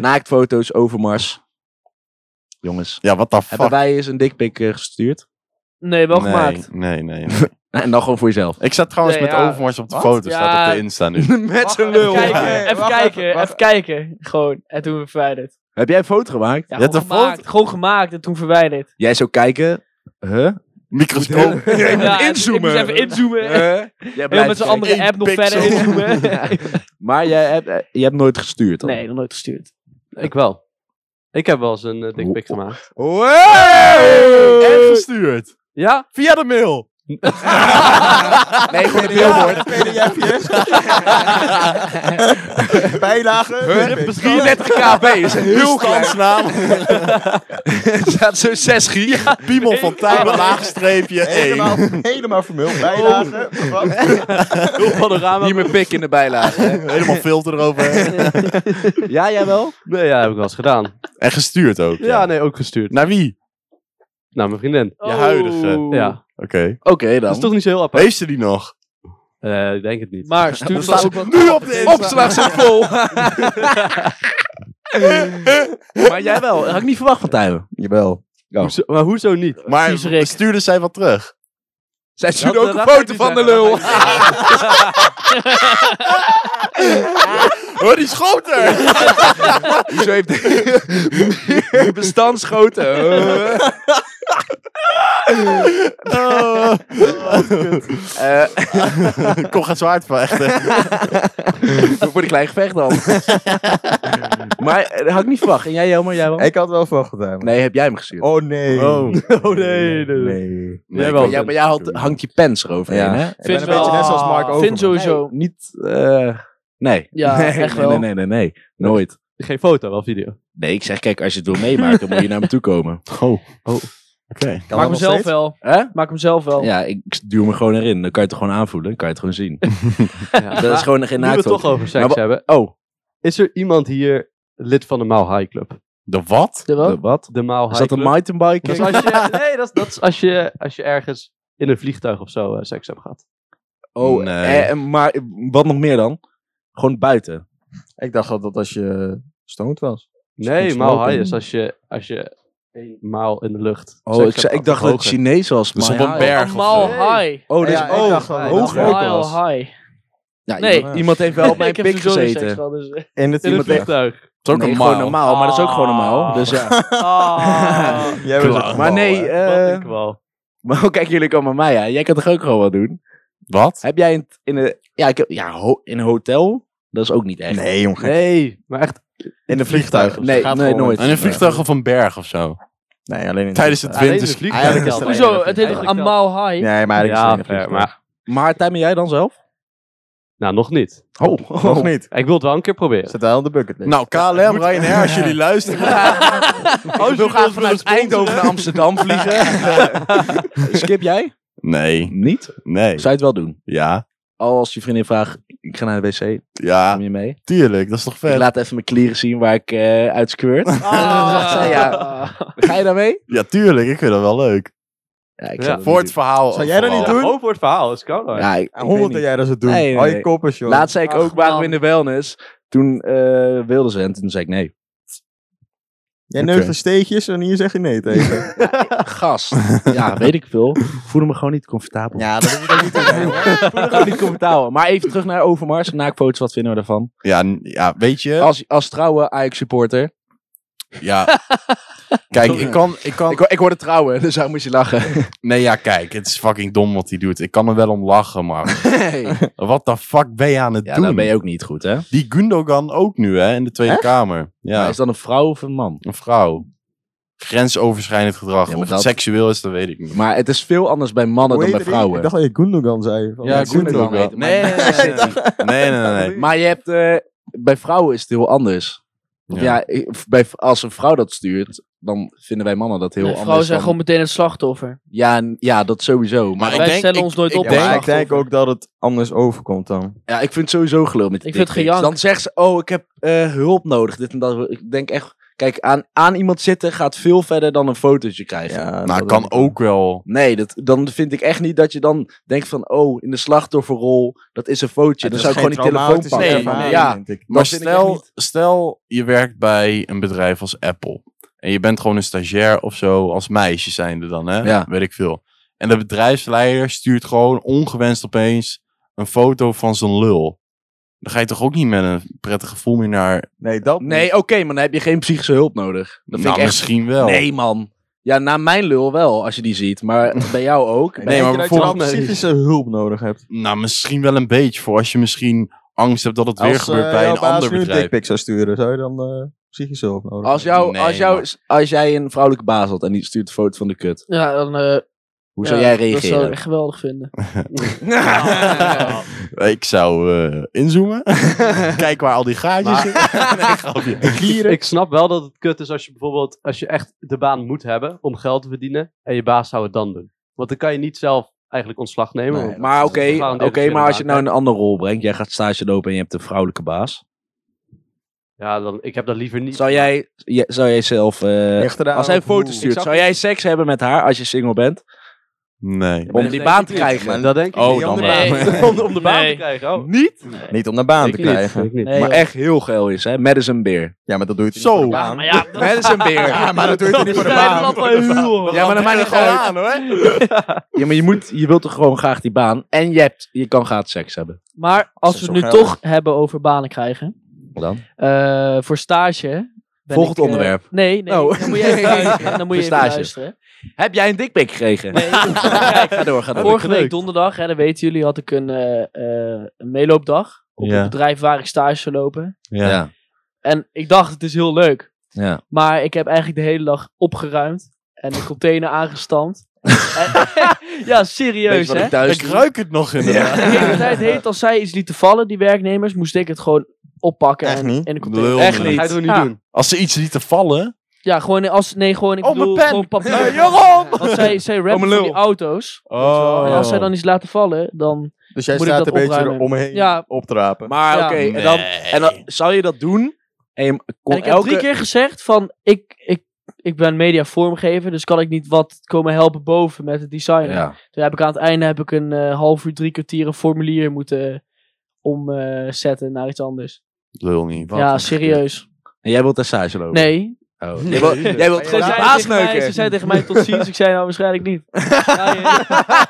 Speaker 2: Naaktfoto's, Overmars. Jongens,
Speaker 3: Ja, wat de
Speaker 2: hebben
Speaker 3: fuck?
Speaker 2: wij eens een dikpik eh, gestuurd?
Speaker 5: Nee, wel
Speaker 3: nee,
Speaker 5: gemaakt.
Speaker 3: Nee, nee.
Speaker 2: En dan gewoon voor jezelf.
Speaker 3: ik zat trouwens
Speaker 5: Nee,
Speaker 3: met
Speaker 5: ja.
Speaker 3: Overmars op de
Speaker 1: Wat?
Speaker 3: foto, staat
Speaker 5: Ja.
Speaker 3: op de Insta nu.
Speaker 2: Met zo'n
Speaker 5: Even
Speaker 2: lul.
Speaker 5: kijken,
Speaker 1: Ja.
Speaker 5: eh, even
Speaker 1: Wacht
Speaker 5: kijken,
Speaker 1: even, wacht
Speaker 5: even kijken. Gewoon, en toen verwijderd.
Speaker 2: Heb jij een foto gemaakt?
Speaker 5: Ja,
Speaker 3: Je hebt
Speaker 5: gewoon
Speaker 3: een foto?
Speaker 5: gemaakt, gewoon gemaakt en toen verwijderd.
Speaker 2: Jij zou kijken. Huh?
Speaker 3: Microscoop.
Speaker 2: Jij
Speaker 5: Ja,
Speaker 2: moet
Speaker 5: ik-
Speaker 2: inzoomen.
Speaker 5: Ik moest even inzoomen.
Speaker 2: Huh?
Speaker 5: Heel
Speaker 2: Jij blijft
Speaker 5: met z'n
Speaker 2: kijken.
Speaker 5: andere app nog verder
Speaker 3: pixel.
Speaker 5: inzoomen.
Speaker 2: Maar jij hebt, eh, je hebt nooit gestuurd dan?
Speaker 5: nee, nog nooit gestuurd.
Speaker 6: Ik wel. Ik heb wel eens een eh, dickpic gemaakt.
Speaker 3: Hey! En gestuurd.
Speaker 6: Ja?
Speaker 3: Via de mail.
Speaker 2: Nee, voor de billboard.
Speaker 1: Bijlagen.
Speaker 2: 33 kb, is heel klein.
Speaker 3: Stadsnaam.
Speaker 2: Er staat zo 6 gig.
Speaker 3: Piemel van Tijmen, laagstreepje 1.
Speaker 5: nou.
Speaker 1: Helemaal, helemaal vermuld. Bijlagen.
Speaker 6: Heel panorama.
Speaker 2: Hier mijn pik in de bijlage. hè.
Speaker 3: Helemaal filter erover.
Speaker 6: Ja, jij wel? Nee, ja, heb ik wel eens gedaan.
Speaker 3: En gestuurd ook.
Speaker 6: Ja,
Speaker 5: nou-
Speaker 6: nee, ook gestuurd.
Speaker 3: Naar wie?
Speaker 6: Naar mijn vriendin.
Speaker 3: Je
Speaker 5: Oh.
Speaker 3: huidige.
Speaker 6: Ja.
Speaker 3: Oké.
Speaker 2: Oké
Speaker 6: Dat
Speaker 2: dan.
Speaker 6: is toch niet zo heel apart?
Speaker 3: Heeft ze die nog?
Speaker 6: Eh, ik denk het niet.
Speaker 5: Maar stuur
Speaker 2: staat
Speaker 5: vast ook wat...
Speaker 3: Nu op de Insta.
Speaker 2: Opslag zit vol. maar jij wel. Dat had ik niet verwacht van Tijmen.
Speaker 1: Jawel.
Speaker 6: Hoezo- maar hoezo niet?
Speaker 3: Maar
Speaker 5: Precies, Rick.
Speaker 3: stuurde zij wat terug?
Speaker 2: Zij stuurde
Speaker 6: Dat-
Speaker 2: ook een
Speaker 6: dat ga ik
Speaker 2: foto
Speaker 6: niet
Speaker 2: van de
Speaker 6: zeggen,
Speaker 2: lul.
Speaker 3: Hoor, die schoter!
Speaker 2: Hoezo heeft die bestandschoten? Eh,
Speaker 3: Kom, gaat zwaard vechten.
Speaker 2: voor die klein gevecht dan. maar eh, dat had ik niet verwacht. En jij Jelmer, jij wel?
Speaker 1: Ik had wel verwacht gedaan.
Speaker 2: Nee, heb jij hem gestuurd?
Speaker 1: Oh nee.
Speaker 6: Oh nee, nee, nee.
Speaker 1: Nee.
Speaker 6: Jij wel.
Speaker 2: Maar jij, maar jij had- hangt je pens eroverheen,
Speaker 1: Ja.
Speaker 2: hè?
Speaker 1: Ik ben een
Speaker 5: wel-
Speaker 1: beetje net zoals Mark
Speaker 6: Vind
Speaker 1: Overman.
Speaker 5: Vind sowieso.
Speaker 2: Niet, eh, nee.
Speaker 5: Ja,
Speaker 2: nee,
Speaker 5: echt
Speaker 2: nee, Nee,
Speaker 5: wel.
Speaker 2: nee, nee, nee. Nooit.
Speaker 6: Geen foto, wel video.
Speaker 2: Nee, ik zeg, kijk, als je het wil meemaken, moet je naar me toe komen.
Speaker 3: Oh. Oké.
Speaker 1: Kan
Speaker 5: Maak
Speaker 1: dat
Speaker 5: hem
Speaker 1: nog
Speaker 5: zelf
Speaker 1: steeds?
Speaker 5: wel.
Speaker 2: Hè?
Speaker 5: Maak hem zelf wel.
Speaker 2: Ja, ik duw me gewoon erin. Dan kan je het gewoon aanvoelen. Dan kan je het gewoon zien.
Speaker 6: Ja.
Speaker 2: Dat is gewoon geen
Speaker 6: nu we het
Speaker 2: naaktfoto.
Speaker 6: toch over seks
Speaker 2: Maar wa-
Speaker 6: hebben.
Speaker 2: Oh,
Speaker 6: Is er iemand hier lid van de Mile High Club?
Speaker 3: De wat?
Speaker 5: De wel?
Speaker 2: de wat?
Speaker 6: De Mile High
Speaker 2: Is dat een
Speaker 6: Club?
Speaker 2: mountainbike?
Speaker 6: Dat is als je, nee, dat is, dat is als, je, als je ergens in een vliegtuig of zo eh, seks hebt gehad.
Speaker 2: Oh,
Speaker 3: Nee.
Speaker 2: eh, maar wat nog meer dan? Gewoon buiten.
Speaker 1: Ik dacht dat dat als je stoned was.
Speaker 6: Nee,
Speaker 1: goed
Speaker 6: Mile
Speaker 1: slopen.
Speaker 6: High is als je, als je een maal in de lucht
Speaker 2: Oh,
Speaker 6: seks
Speaker 2: ik,
Speaker 6: hebt
Speaker 2: zei- ik
Speaker 6: gehad.
Speaker 2: dacht dat het
Speaker 6: Hoger.
Speaker 2: Chinees was.
Speaker 3: Dus
Speaker 2: maar
Speaker 3: op een
Speaker 2: ja,
Speaker 3: berg.
Speaker 5: Een mile
Speaker 6: Nee.
Speaker 5: high.
Speaker 2: Oh, dus
Speaker 1: Ja, ik
Speaker 2: oh,
Speaker 1: dacht dat het
Speaker 2: hoog
Speaker 1: hoger
Speaker 2: ook
Speaker 5: Mile
Speaker 2: was.
Speaker 5: high.
Speaker 2: Ja,
Speaker 5: Nee.
Speaker 2: iemand- Iemand heeft wel op mijn
Speaker 5: Ik heb
Speaker 2: pik
Speaker 5: sowieso seks
Speaker 2: gezeten.
Speaker 5: gehad, dus, eh.
Speaker 1: In het
Speaker 6: In een
Speaker 1: iemand echt.
Speaker 6: vliegtuig.
Speaker 2: Het is ook
Speaker 3: Nee,
Speaker 2: een
Speaker 3: gewoon
Speaker 2: gewoon normaal, maar dat is ook gewoon normaal. Dus ja.
Speaker 6: Ah,
Speaker 1: Jij was
Speaker 3: Klaar.
Speaker 1: het
Speaker 2: Maar
Speaker 1: geval,
Speaker 2: nee,
Speaker 1: hè?
Speaker 6: wat
Speaker 2: eh
Speaker 6: een kwal.
Speaker 2: maar hoe kijken jullie allemaal mij aan? Jij kan toch ook gewoon wat doen?
Speaker 3: Wat?
Speaker 2: Heb jij in, in een... Ja, ik heb, ja ho- in een hotel? Dat is ook niet echt.
Speaker 1: Nee, jongen.
Speaker 6: Nee, maar echt.
Speaker 1: In een vliegtuig.
Speaker 2: Nee,
Speaker 1: Gaat
Speaker 2: nee,
Speaker 1: gewoon-
Speaker 2: nooit.
Speaker 3: En een vliegtuig of een berg of zo?
Speaker 1: Nee, alleen in
Speaker 3: Tijdens het
Speaker 6: Alleen in
Speaker 3: winters...
Speaker 6: het vliegtuig.
Speaker 1: Eigenlijk is het
Speaker 5: Hoezo? Het heet toch
Speaker 6: Eigenlijk
Speaker 5: een
Speaker 6: wel.
Speaker 5: mile high?
Speaker 1: Nee, maar eigenlijk is
Speaker 6: Ja,
Speaker 1: het alleen
Speaker 6: fair,
Speaker 1: een vliegtuig.
Speaker 6: maar.
Speaker 2: Maar Tijmen, jij dan zelf?
Speaker 6: Nou, nog niet.
Speaker 2: Oh,
Speaker 1: Nog niet.
Speaker 6: Ik wil het wel een keer proberen.
Speaker 1: Zit daar op de bucketlist.
Speaker 3: Nou, KLM, Ryanair, als jullie luisteren.
Speaker 2: Oh, ik wil graag vanuit Eindhoven naar Amsterdam vliegen. Skip jij?
Speaker 3: Nee,
Speaker 2: Niet.
Speaker 3: nee.
Speaker 2: Zou je het wel doen?
Speaker 3: Ja,
Speaker 2: Oh, Als je vriendin vraagt, ik ga naar de wc,
Speaker 3: ja,
Speaker 2: kom je mee?
Speaker 3: tuurlijk. Dat is toch
Speaker 2: Ik
Speaker 3: vet?
Speaker 2: laat even mijn klieren zien waar ik eh uit squirt. Zegt zij, ja. Ga je daar mee?
Speaker 3: Ja, tuurlijk. Ik vind dat wel leuk.
Speaker 2: Ja, ik
Speaker 6: Ja.
Speaker 2: zou dat
Speaker 3: Voor
Speaker 2: niet
Speaker 3: het verhaal.
Speaker 1: Zou jij dat niet
Speaker 6: Ja,
Speaker 3: vooral.
Speaker 1: doen?
Speaker 6: gewoon voor het verhaal, dat is koud.
Speaker 2: doen.
Speaker 6: hoor.
Speaker 2: Ja, ik, ik weet
Speaker 1: Honderd dat
Speaker 2: niet.
Speaker 1: jij dat zou doen.
Speaker 2: Nee, nee,
Speaker 1: Hou je
Speaker 2: nee.
Speaker 1: koppers, joh.
Speaker 2: Laatst zei ik
Speaker 5: Ach,
Speaker 2: ook, waren we
Speaker 5: man.
Speaker 2: in de wellness. Toen eh wilde ze en toen zei ik nee.
Speaker 1: Jij
Speaker 3: Oké.
Speaker 1: neukt er steekjes en hier zeg je nee tegen.
Speaker 2: Gast. Ja, weet ik veel. Voelde me gewoon niet comfortabel.
Speaker 1: ja, dat moet je niet doen.
Speaker 2: Voelde me gewoon niet comfortabel. Maar even terug naar Overmars. Naakfoto's, wat vinden we daarvan?
Speaker 3: Ja, n- ja, weet je...
Speaker 2: Als, als trouwe Ajax supporter.
Speaker 3: Ja. Kijk, ik kan, ik kan...
Speaker 2: Ik, ho- ik hoorde trouwen, dus daar moest je lachen.
Speaker 3: Nee, ja, kijk. Het is fucking dom wat hij doet. Ik kan er wel om lachen, maar... Wat de fuck ben je aan het
Speaker 2: Ja,
Speaker 3: doen?
Speaker 2: dan ben je ook niet goed, hè?
Speaker 3: Die Gundogan ook nu, hè? In de Tweede Kamer.
Speaker 2: Maar
Speaker 3: Ja,
Speaker 2: is dat een vrouw of een man?
Speaker 3: een vrouw. Grensoverschrijdend gedrag.
Speaker 2: Ja, maar
Speaker 3: of het
Speaker 2: dat-
Speaker 3: seksueel is, dat weet ik niet.
Speaker 2: Maar het is veel anders bij mannen
Speaker 1: Hoe heet
Speaker 2: dan bij
Speaker 1: die? Ik
Speaker 2: vrouwen.
Speaker 1: dacht dat je Gundogan zei. Van,
Speaker 2: Ja, Gundogan heet hem, maar
Speaker 3: Nee,
Speaker 2: niet
Speaker 3: nee, nee,
Speaker 2: City.
Speaker 3: Nee, nee, nee. nee.
Speaker 2: Maar je hebt, eh, bij vrouwen is het heel anders. Ja,
Speaker 3: Ja.
Speaker 2: eh, bij, als een vrouw dat stuurt, dan vinden wij mannen dat heel
Speaker 5: Nee,
Speaker 2: anders.
Speaker 5: vrouwen zijn
Speaker 2: dan-
Speaker 5: gewoon meteen het slachtoffer.
Speaker 2: Ja, n- ja, dat sowieso. Maar
Speaker 3: ik
Speaker 5: Wij
Speaker 3: denk-
Speaker 5: stellen
Speaker 3: ik-
Speaker 5: ons nooit
Speaker 3: ik
Speaker 5: op.
Speaker 3: denk-
Speaker 5: als
Speaker 1: maar ik
Speaker 5: slachtoffer.
Speaker 1: denk ook dat het anders overkomt dan.
Speaker 2: ja, ik vind het sowieso gelul met die
Speaker 5: Ik vind het
Speaker 2: dickpics.
Speaker 5: gejank.
Speaker 2: Dan zegt ze, oh, ik heb eh, hulp nodig. Dit en dat. Ik denk echt, kijk, aan, aan iemand zitten gaat veel verder dan een fotootje krijgen.
Speaker 1: Ja,
Speaker 3: Nou,
Speaker 1: dat
Speaker 3: kan
Speaker 1: weet ik
Speaker 3: ook wel.
Speaker 2: Nee, dat, dan vind ik echt niet dat je dan denkt van, oh, in de slachtofferrol, dat is een foutje.
Speaker 1: Het
Speaker 2: Dan
Speaker 1: is
Speaker 2: zou ik
Speaker 1: geen
Speaker 2: gewoon die telefoon
Speaker 1: traumatische ervaring,
Speaker 2: pakken.
Speaker 3: nee,
Speaker 2: ja.
Speaker 1: vind ik.
Speaker 3: Maar
Speaker 2: Dat vind ik echt
Speaker 3: stel,
Speaker 2: niet.
Speaker 3: stel, je werkt bij een bedrijf als Apple. En je bent gewoon een stagiair of zo, als meisje zijnde dan, hè?
Speaker 2: Ja.
Speaker 3: Weet ik veel. En de bedrijfsleider stuurt gewoon ongewenst opeens een foto van zijn lul. Dan ga je toch ook niet met een prettig gevoel meer naar...
Speaker 1: Nee, dat
Speaker 2: Nee,
Speaker 1: niet.
Speaker 2: oké, maar dan heb je geen psychische hulp nodig. Dat vind
Speaker 3: nou,
Speaker 2: ik echt...
Speaker 3: misschien wel.
Speaker 2: Nee, man. Ja, na mijn lul wel, als je die ziet. Maar bij jou ook.
Speaker 1: Ik denk
Speaker 3: maar
Speaker 1: dat je
Speaker 3: bijvoorbeeld-
Speaker 1: wel psychische hulp nodig hebt.
Speaker 3: Nou, misschien wel een beetje. Voor als je misschien angst hebt dat het weer
Speaker 1: Als
Speaker 3: gebeurt
Speaker 1: eh,
Speaker 3: bij
Speaker 1: jouw
Speaker 3: een
Speaker 1: baas
Speaker 3: ander
Speaker 1: nu een
Speaker 3: bedrijf.
Speaker 1: dikpik zou sturen, zou je dan eh, psychische hulp nodig
Speaker 2: Als, jou,
Speaker 3: Nee,
Speaker 2: als, jou,
Speaker 3: maar-
Speaker 2: als jij een vrouwelijke baas had en die stuurt een foto van de kut.
Speaker 5: Ja, dan eh,
Speaker 2: Hoe
Speaker 5: Ja,
Speaker 2: zou jij
Speaker 5: Dat zou ik
Speaker 2: reageren?
Speaker 5: echt geweldig vinden.
Speaker 3: Ik zou eh, inzoomen. Kijken waar al die gaatjes
Speaker 6: Maar-
Speaker 3: zitten. Nee, grapje.
Speaker 6: Ik snap wel dat het kut is als je bijvoorbeeld, als je echt de baan moet hebben om geld te verdienen en je baas zou het dan doen. Want dan kan je niet zelf eigenlijk ontslag nemen.
Speaker 3: Nee,
Speaker 6: want-
Speaker 2: Maar oké, oké,
Speaker 6: gegarandeerd dat je
Speaker 2: maar als je
Speaker 6: een
Speaker 2: nou een andere rol brengt, jij gaat stage lopen en je hebt een vrouwelijke baas.
Speaker 6: ja, dan, ik heb dat liever niet.
Speaker 2: Zou jij, je- zou jij zelf, eh,
Speaker 1: Echt gedaan.
Speaker 2: als hij een foto
Speaker 1: Oeh.
Speaker 2: stuurt,
Speaker 6: Ik zou-
Speaker 2: zou jij seks hebben met haar als je single bent?
Speaker 3: Nee.
Speaker 2: Om die baan te krijgen.
Speaker 1: maar
Speaker 6: Dat denk ik.
Speaker 3: Oh,
Speaker 6: niet.
Speaker 3: dan
Speaker 5: Nee.
Speaker 3: wel.
Speaker 6: om, om de baan
Speaker 5: Nee.
Speaker 6: te krijgen. Oh.
Speaker 2: Niet?
Speaker 1: Niet om naar baan te krijgen.
Speaker 5: Nee,
Speaker 2: maar
Speaker 5: joh.
Speaker 2: echt heel geil is, hè? Madison Beer.
Speaker 1: Ja, maar dat doe je toch
Speaker 3: Zo.
Speaker 1: niet voor de
Speaker 5: Ja,
Speaker 1: baan.
Speaker 5: maar ja, dat
Speaker 2: Madison Beer.
Speaker 1: Ja, maar dat doe je toch niet voor de
Speaker 5: is
Speaker 1: baan.
Speaker 5: Nederland wel heel-
Speaker 2: Ja, maar dan maakt het gewoon uit.
Speaker 3: aan hoor.
Speaker 2: Ja, maar je, moet, je wilt toch gewoon graag die baan. En je, hebt, je kan graag seks hebben.
Speaker 5: Maar als
Speaker 1: is
Speaker 5: we het
Speaker 1: zo
Speaker 5: nu
Speaker 1: geil.
Speaker 5: toch hebben over banen krijgen.
Speaker 2: Wat dan?
Speaker 5: eh, voor stage. ben
Speaker 2: Volgend
Speaker 5: ik, eh,
Speaker 2: onderwerp.
Speaker 5: nee, nee.
Speaker 2: Oh.
Speaker 5: Dan moet je even luisteren. Dan moet je
Speaker 2: Voor
Speaker 5: even
Speaker 2: stage.
Speaker 5: luisteren.
Speaker 2: Heb jij een dikpik gekregen?
Speaker 5: Nee,
Speaker 2: Kijk,
Speaker 5: kijk,
Speaker 2: ga door, ga door.
Speaker 5: Vorige week donderdag, hè, dat weten jullie, had ik een, eh, eh, een meeloopdag. Op
Speaker 3: Ja.
Speaker 5: het bedrijf waar ik stage zou lopen.
Speaker 3: Ja.
Speaker 2: Ja.
Speaker 5: En ik dacht, het is heel leuk.
Speaker 2: ja.
Speaker 5: Maar ik heb eigenlijk de hele dag opgeruimd. En de container aangestampt. En- ja, serieus, hè?
Speaker 3: Ik ruik het nog inderdaad.
Speaker 5: De hele tijd heet als zij iets lieten vallen, die werknemers, moest ik het gewoon oppakken
Speaker 1: Echt
Speaker 5: en
Speaker 1: niet?
Speaker 5: in de container.
Speaker 3: Lul.
Speaker 2: Echt
Speaker 6: Dat ga je
Speaker 2: niet.
Speaker 6: toch niet
Speaker 5: Ja.
Speaker 6: doen?
Speaker 3: Als ze iets lieten vallen.
Speaker 5: Ja, gewoon in- als nee, gewoon ik
Speaker 3: Oh,
Speaker 5: bedoel
Speaker 3: mijn pen!
Speaker 5: gewoon papier.
Speaker 3: Hey, Joram!
Speaker 5: Want zij zij rappen
Speaker 2: Oh, mijn
Speaker 5: van die
Speaker 2: lul.
Speaker 5: auto's.
Speaker 3: Oh.
Speaker 5: En als zij dan iets laten vallen, dan
Speaker 1: Dus jij
Speaker 5: Moet ik
Speaker 1: staat
Speaker 5: dat
Speaker 1: een beetje
Speaker 5: opruimen?
Speaker 1: omheen
Speaker 5: Ja.
Speaker 1: op te rapen.
Speaker 2: Maar
Speaker 5: Ja.
Speaker 2: oké, en, dan, en dan zou je dat doen? En je kon
Speaker 5: en ik heb
Speaker 2: elke...
Speaker 5: drie keer gezegd van ik ik ik ben media vormgever, dus kan ik niet wat komen helpen boven met het design.
Speaker 2: Ja.
Speaker 5: Toen heb ik aan het einde heb ik een eh, half uur, drie kwartier een formulier moeten eh, omzetten naar iets anders.
Speaker 3: Lul niet. wat
Speaker 5: ja,
Speaker 3: een
Speaker 5: serieus.
Speaker 2: En jij wilt daar stage lopen?
Speaker 5: Nee,
Speaker 2: Oh. Jij wilt, jij wilt
Speaker 5: Ze
Speaker 2: gewoon
Speaker 5: zei,
Speaker 2: de
Speaker 5: tegen
Speaker 2: baas
Speaker 5: mij, ze
Speaker 2: neuken.
Speaker 5: zei tegen mij tot ziens. Ik zei nou waarschijnlijk niet. Ja, ja.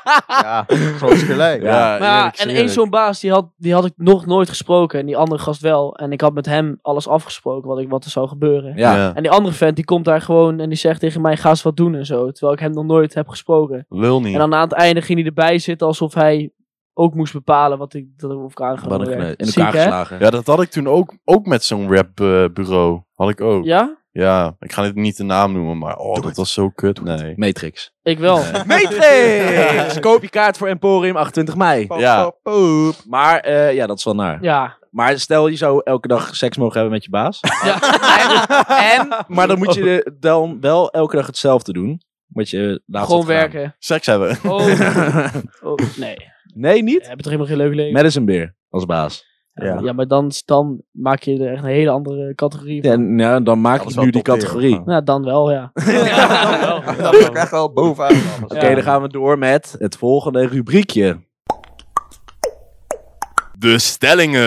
Speaker 1: Ja, groot gelijk.
Speaker 3: kut. Ja,
Speaker 5: Maar ja,
Speaker 3: eerlijk,
Speaker 5: en
Speaker 3: eerlijk.
Speaker 5: één zo'n baas, die had, die had ik nog nooit gesproken. En die andere gast wel. En ik had met hem alles afgesproken wat, ik, wat er zou gebeuren.
Speaker 2: Ja.
Speaker 5: En die andere vent, die komt daar gewoon en die zegt tegen mij, ga eens wat doen en zo. Terwijl ik hem nog nooit heb gesproken.
Speaker 3: Lul niet.
Speaker 5: En dan aan het einde ging hij erbij zitten alsof hij ook moest bepalen wat ik, dat of ik aangenomen
Speaker 2: Wat een
Speaker 5: werd.
Speaker 2: kneus. In
Speaker 5: Ziek,
Speaker 2: elkaar
Speaker 5: hè?
Speaker 2: geslagen.
Speaker 3: Ja, dat had ik toen ook, ook met zo'n rapbureau. had ik ook. Ja.
Speaker 5: Ja?
Speaker 3: ik ga dit niet de naam noemen, maar oh, dat was zo kut. Nee.
Speaker 2: Matrix.
Speaker 5: Ik wel.
Speaker 2: Matrix! Koop je kaart voor Emporium 28 mei.
Speaker 3: Ja.
Speaker 1: Poep.
Speaker 2: Maar eh, ja, dat is wel naar.
Speaker 5: Ja.
Speaker 2: Maar stel je zou elke dag seks mogen hebben met je baas.
Speaker 5: Ja.
Speaker 2: En, en- maar dan moet je de- dan wel elke dag hetzelfde doen. Wat je laatst
Speaker 5: Gewoon
Speaker 2: had gedaan.
Speaker 5: werken.
Speaker 3: Seks hebben.
Speaker 5: Oh. oh, nee.
Speaker 2: Nee, niet?
Speaker 5: Heb je toch helemaal geen leuk leven?
Speaker 2: Madison Beer als baas.
Speaker 1: Ja.
Speaker 5: Ja, maar dan, dan maak je er echt een hele andere categorie van.
Speaker 2: Ja, nou, dan maak
Speaker 1: Dat is
Speaker 2: ik
Speaker 1: wel
Speaker 2: nu die
Speaker 1: top tier.
Speaker 2: categorie.
Speaker 1: Ja.
Speaker 2: Oké,
Speaker 5: Nou, dan wel, ja.
Speaker 1: Dat is echt wel bovenaan. alles.
Speaker 5: Ja.
Speaker 2: dan gaan we door met het volgende rubriekje.
Speaker 3: De stellingen.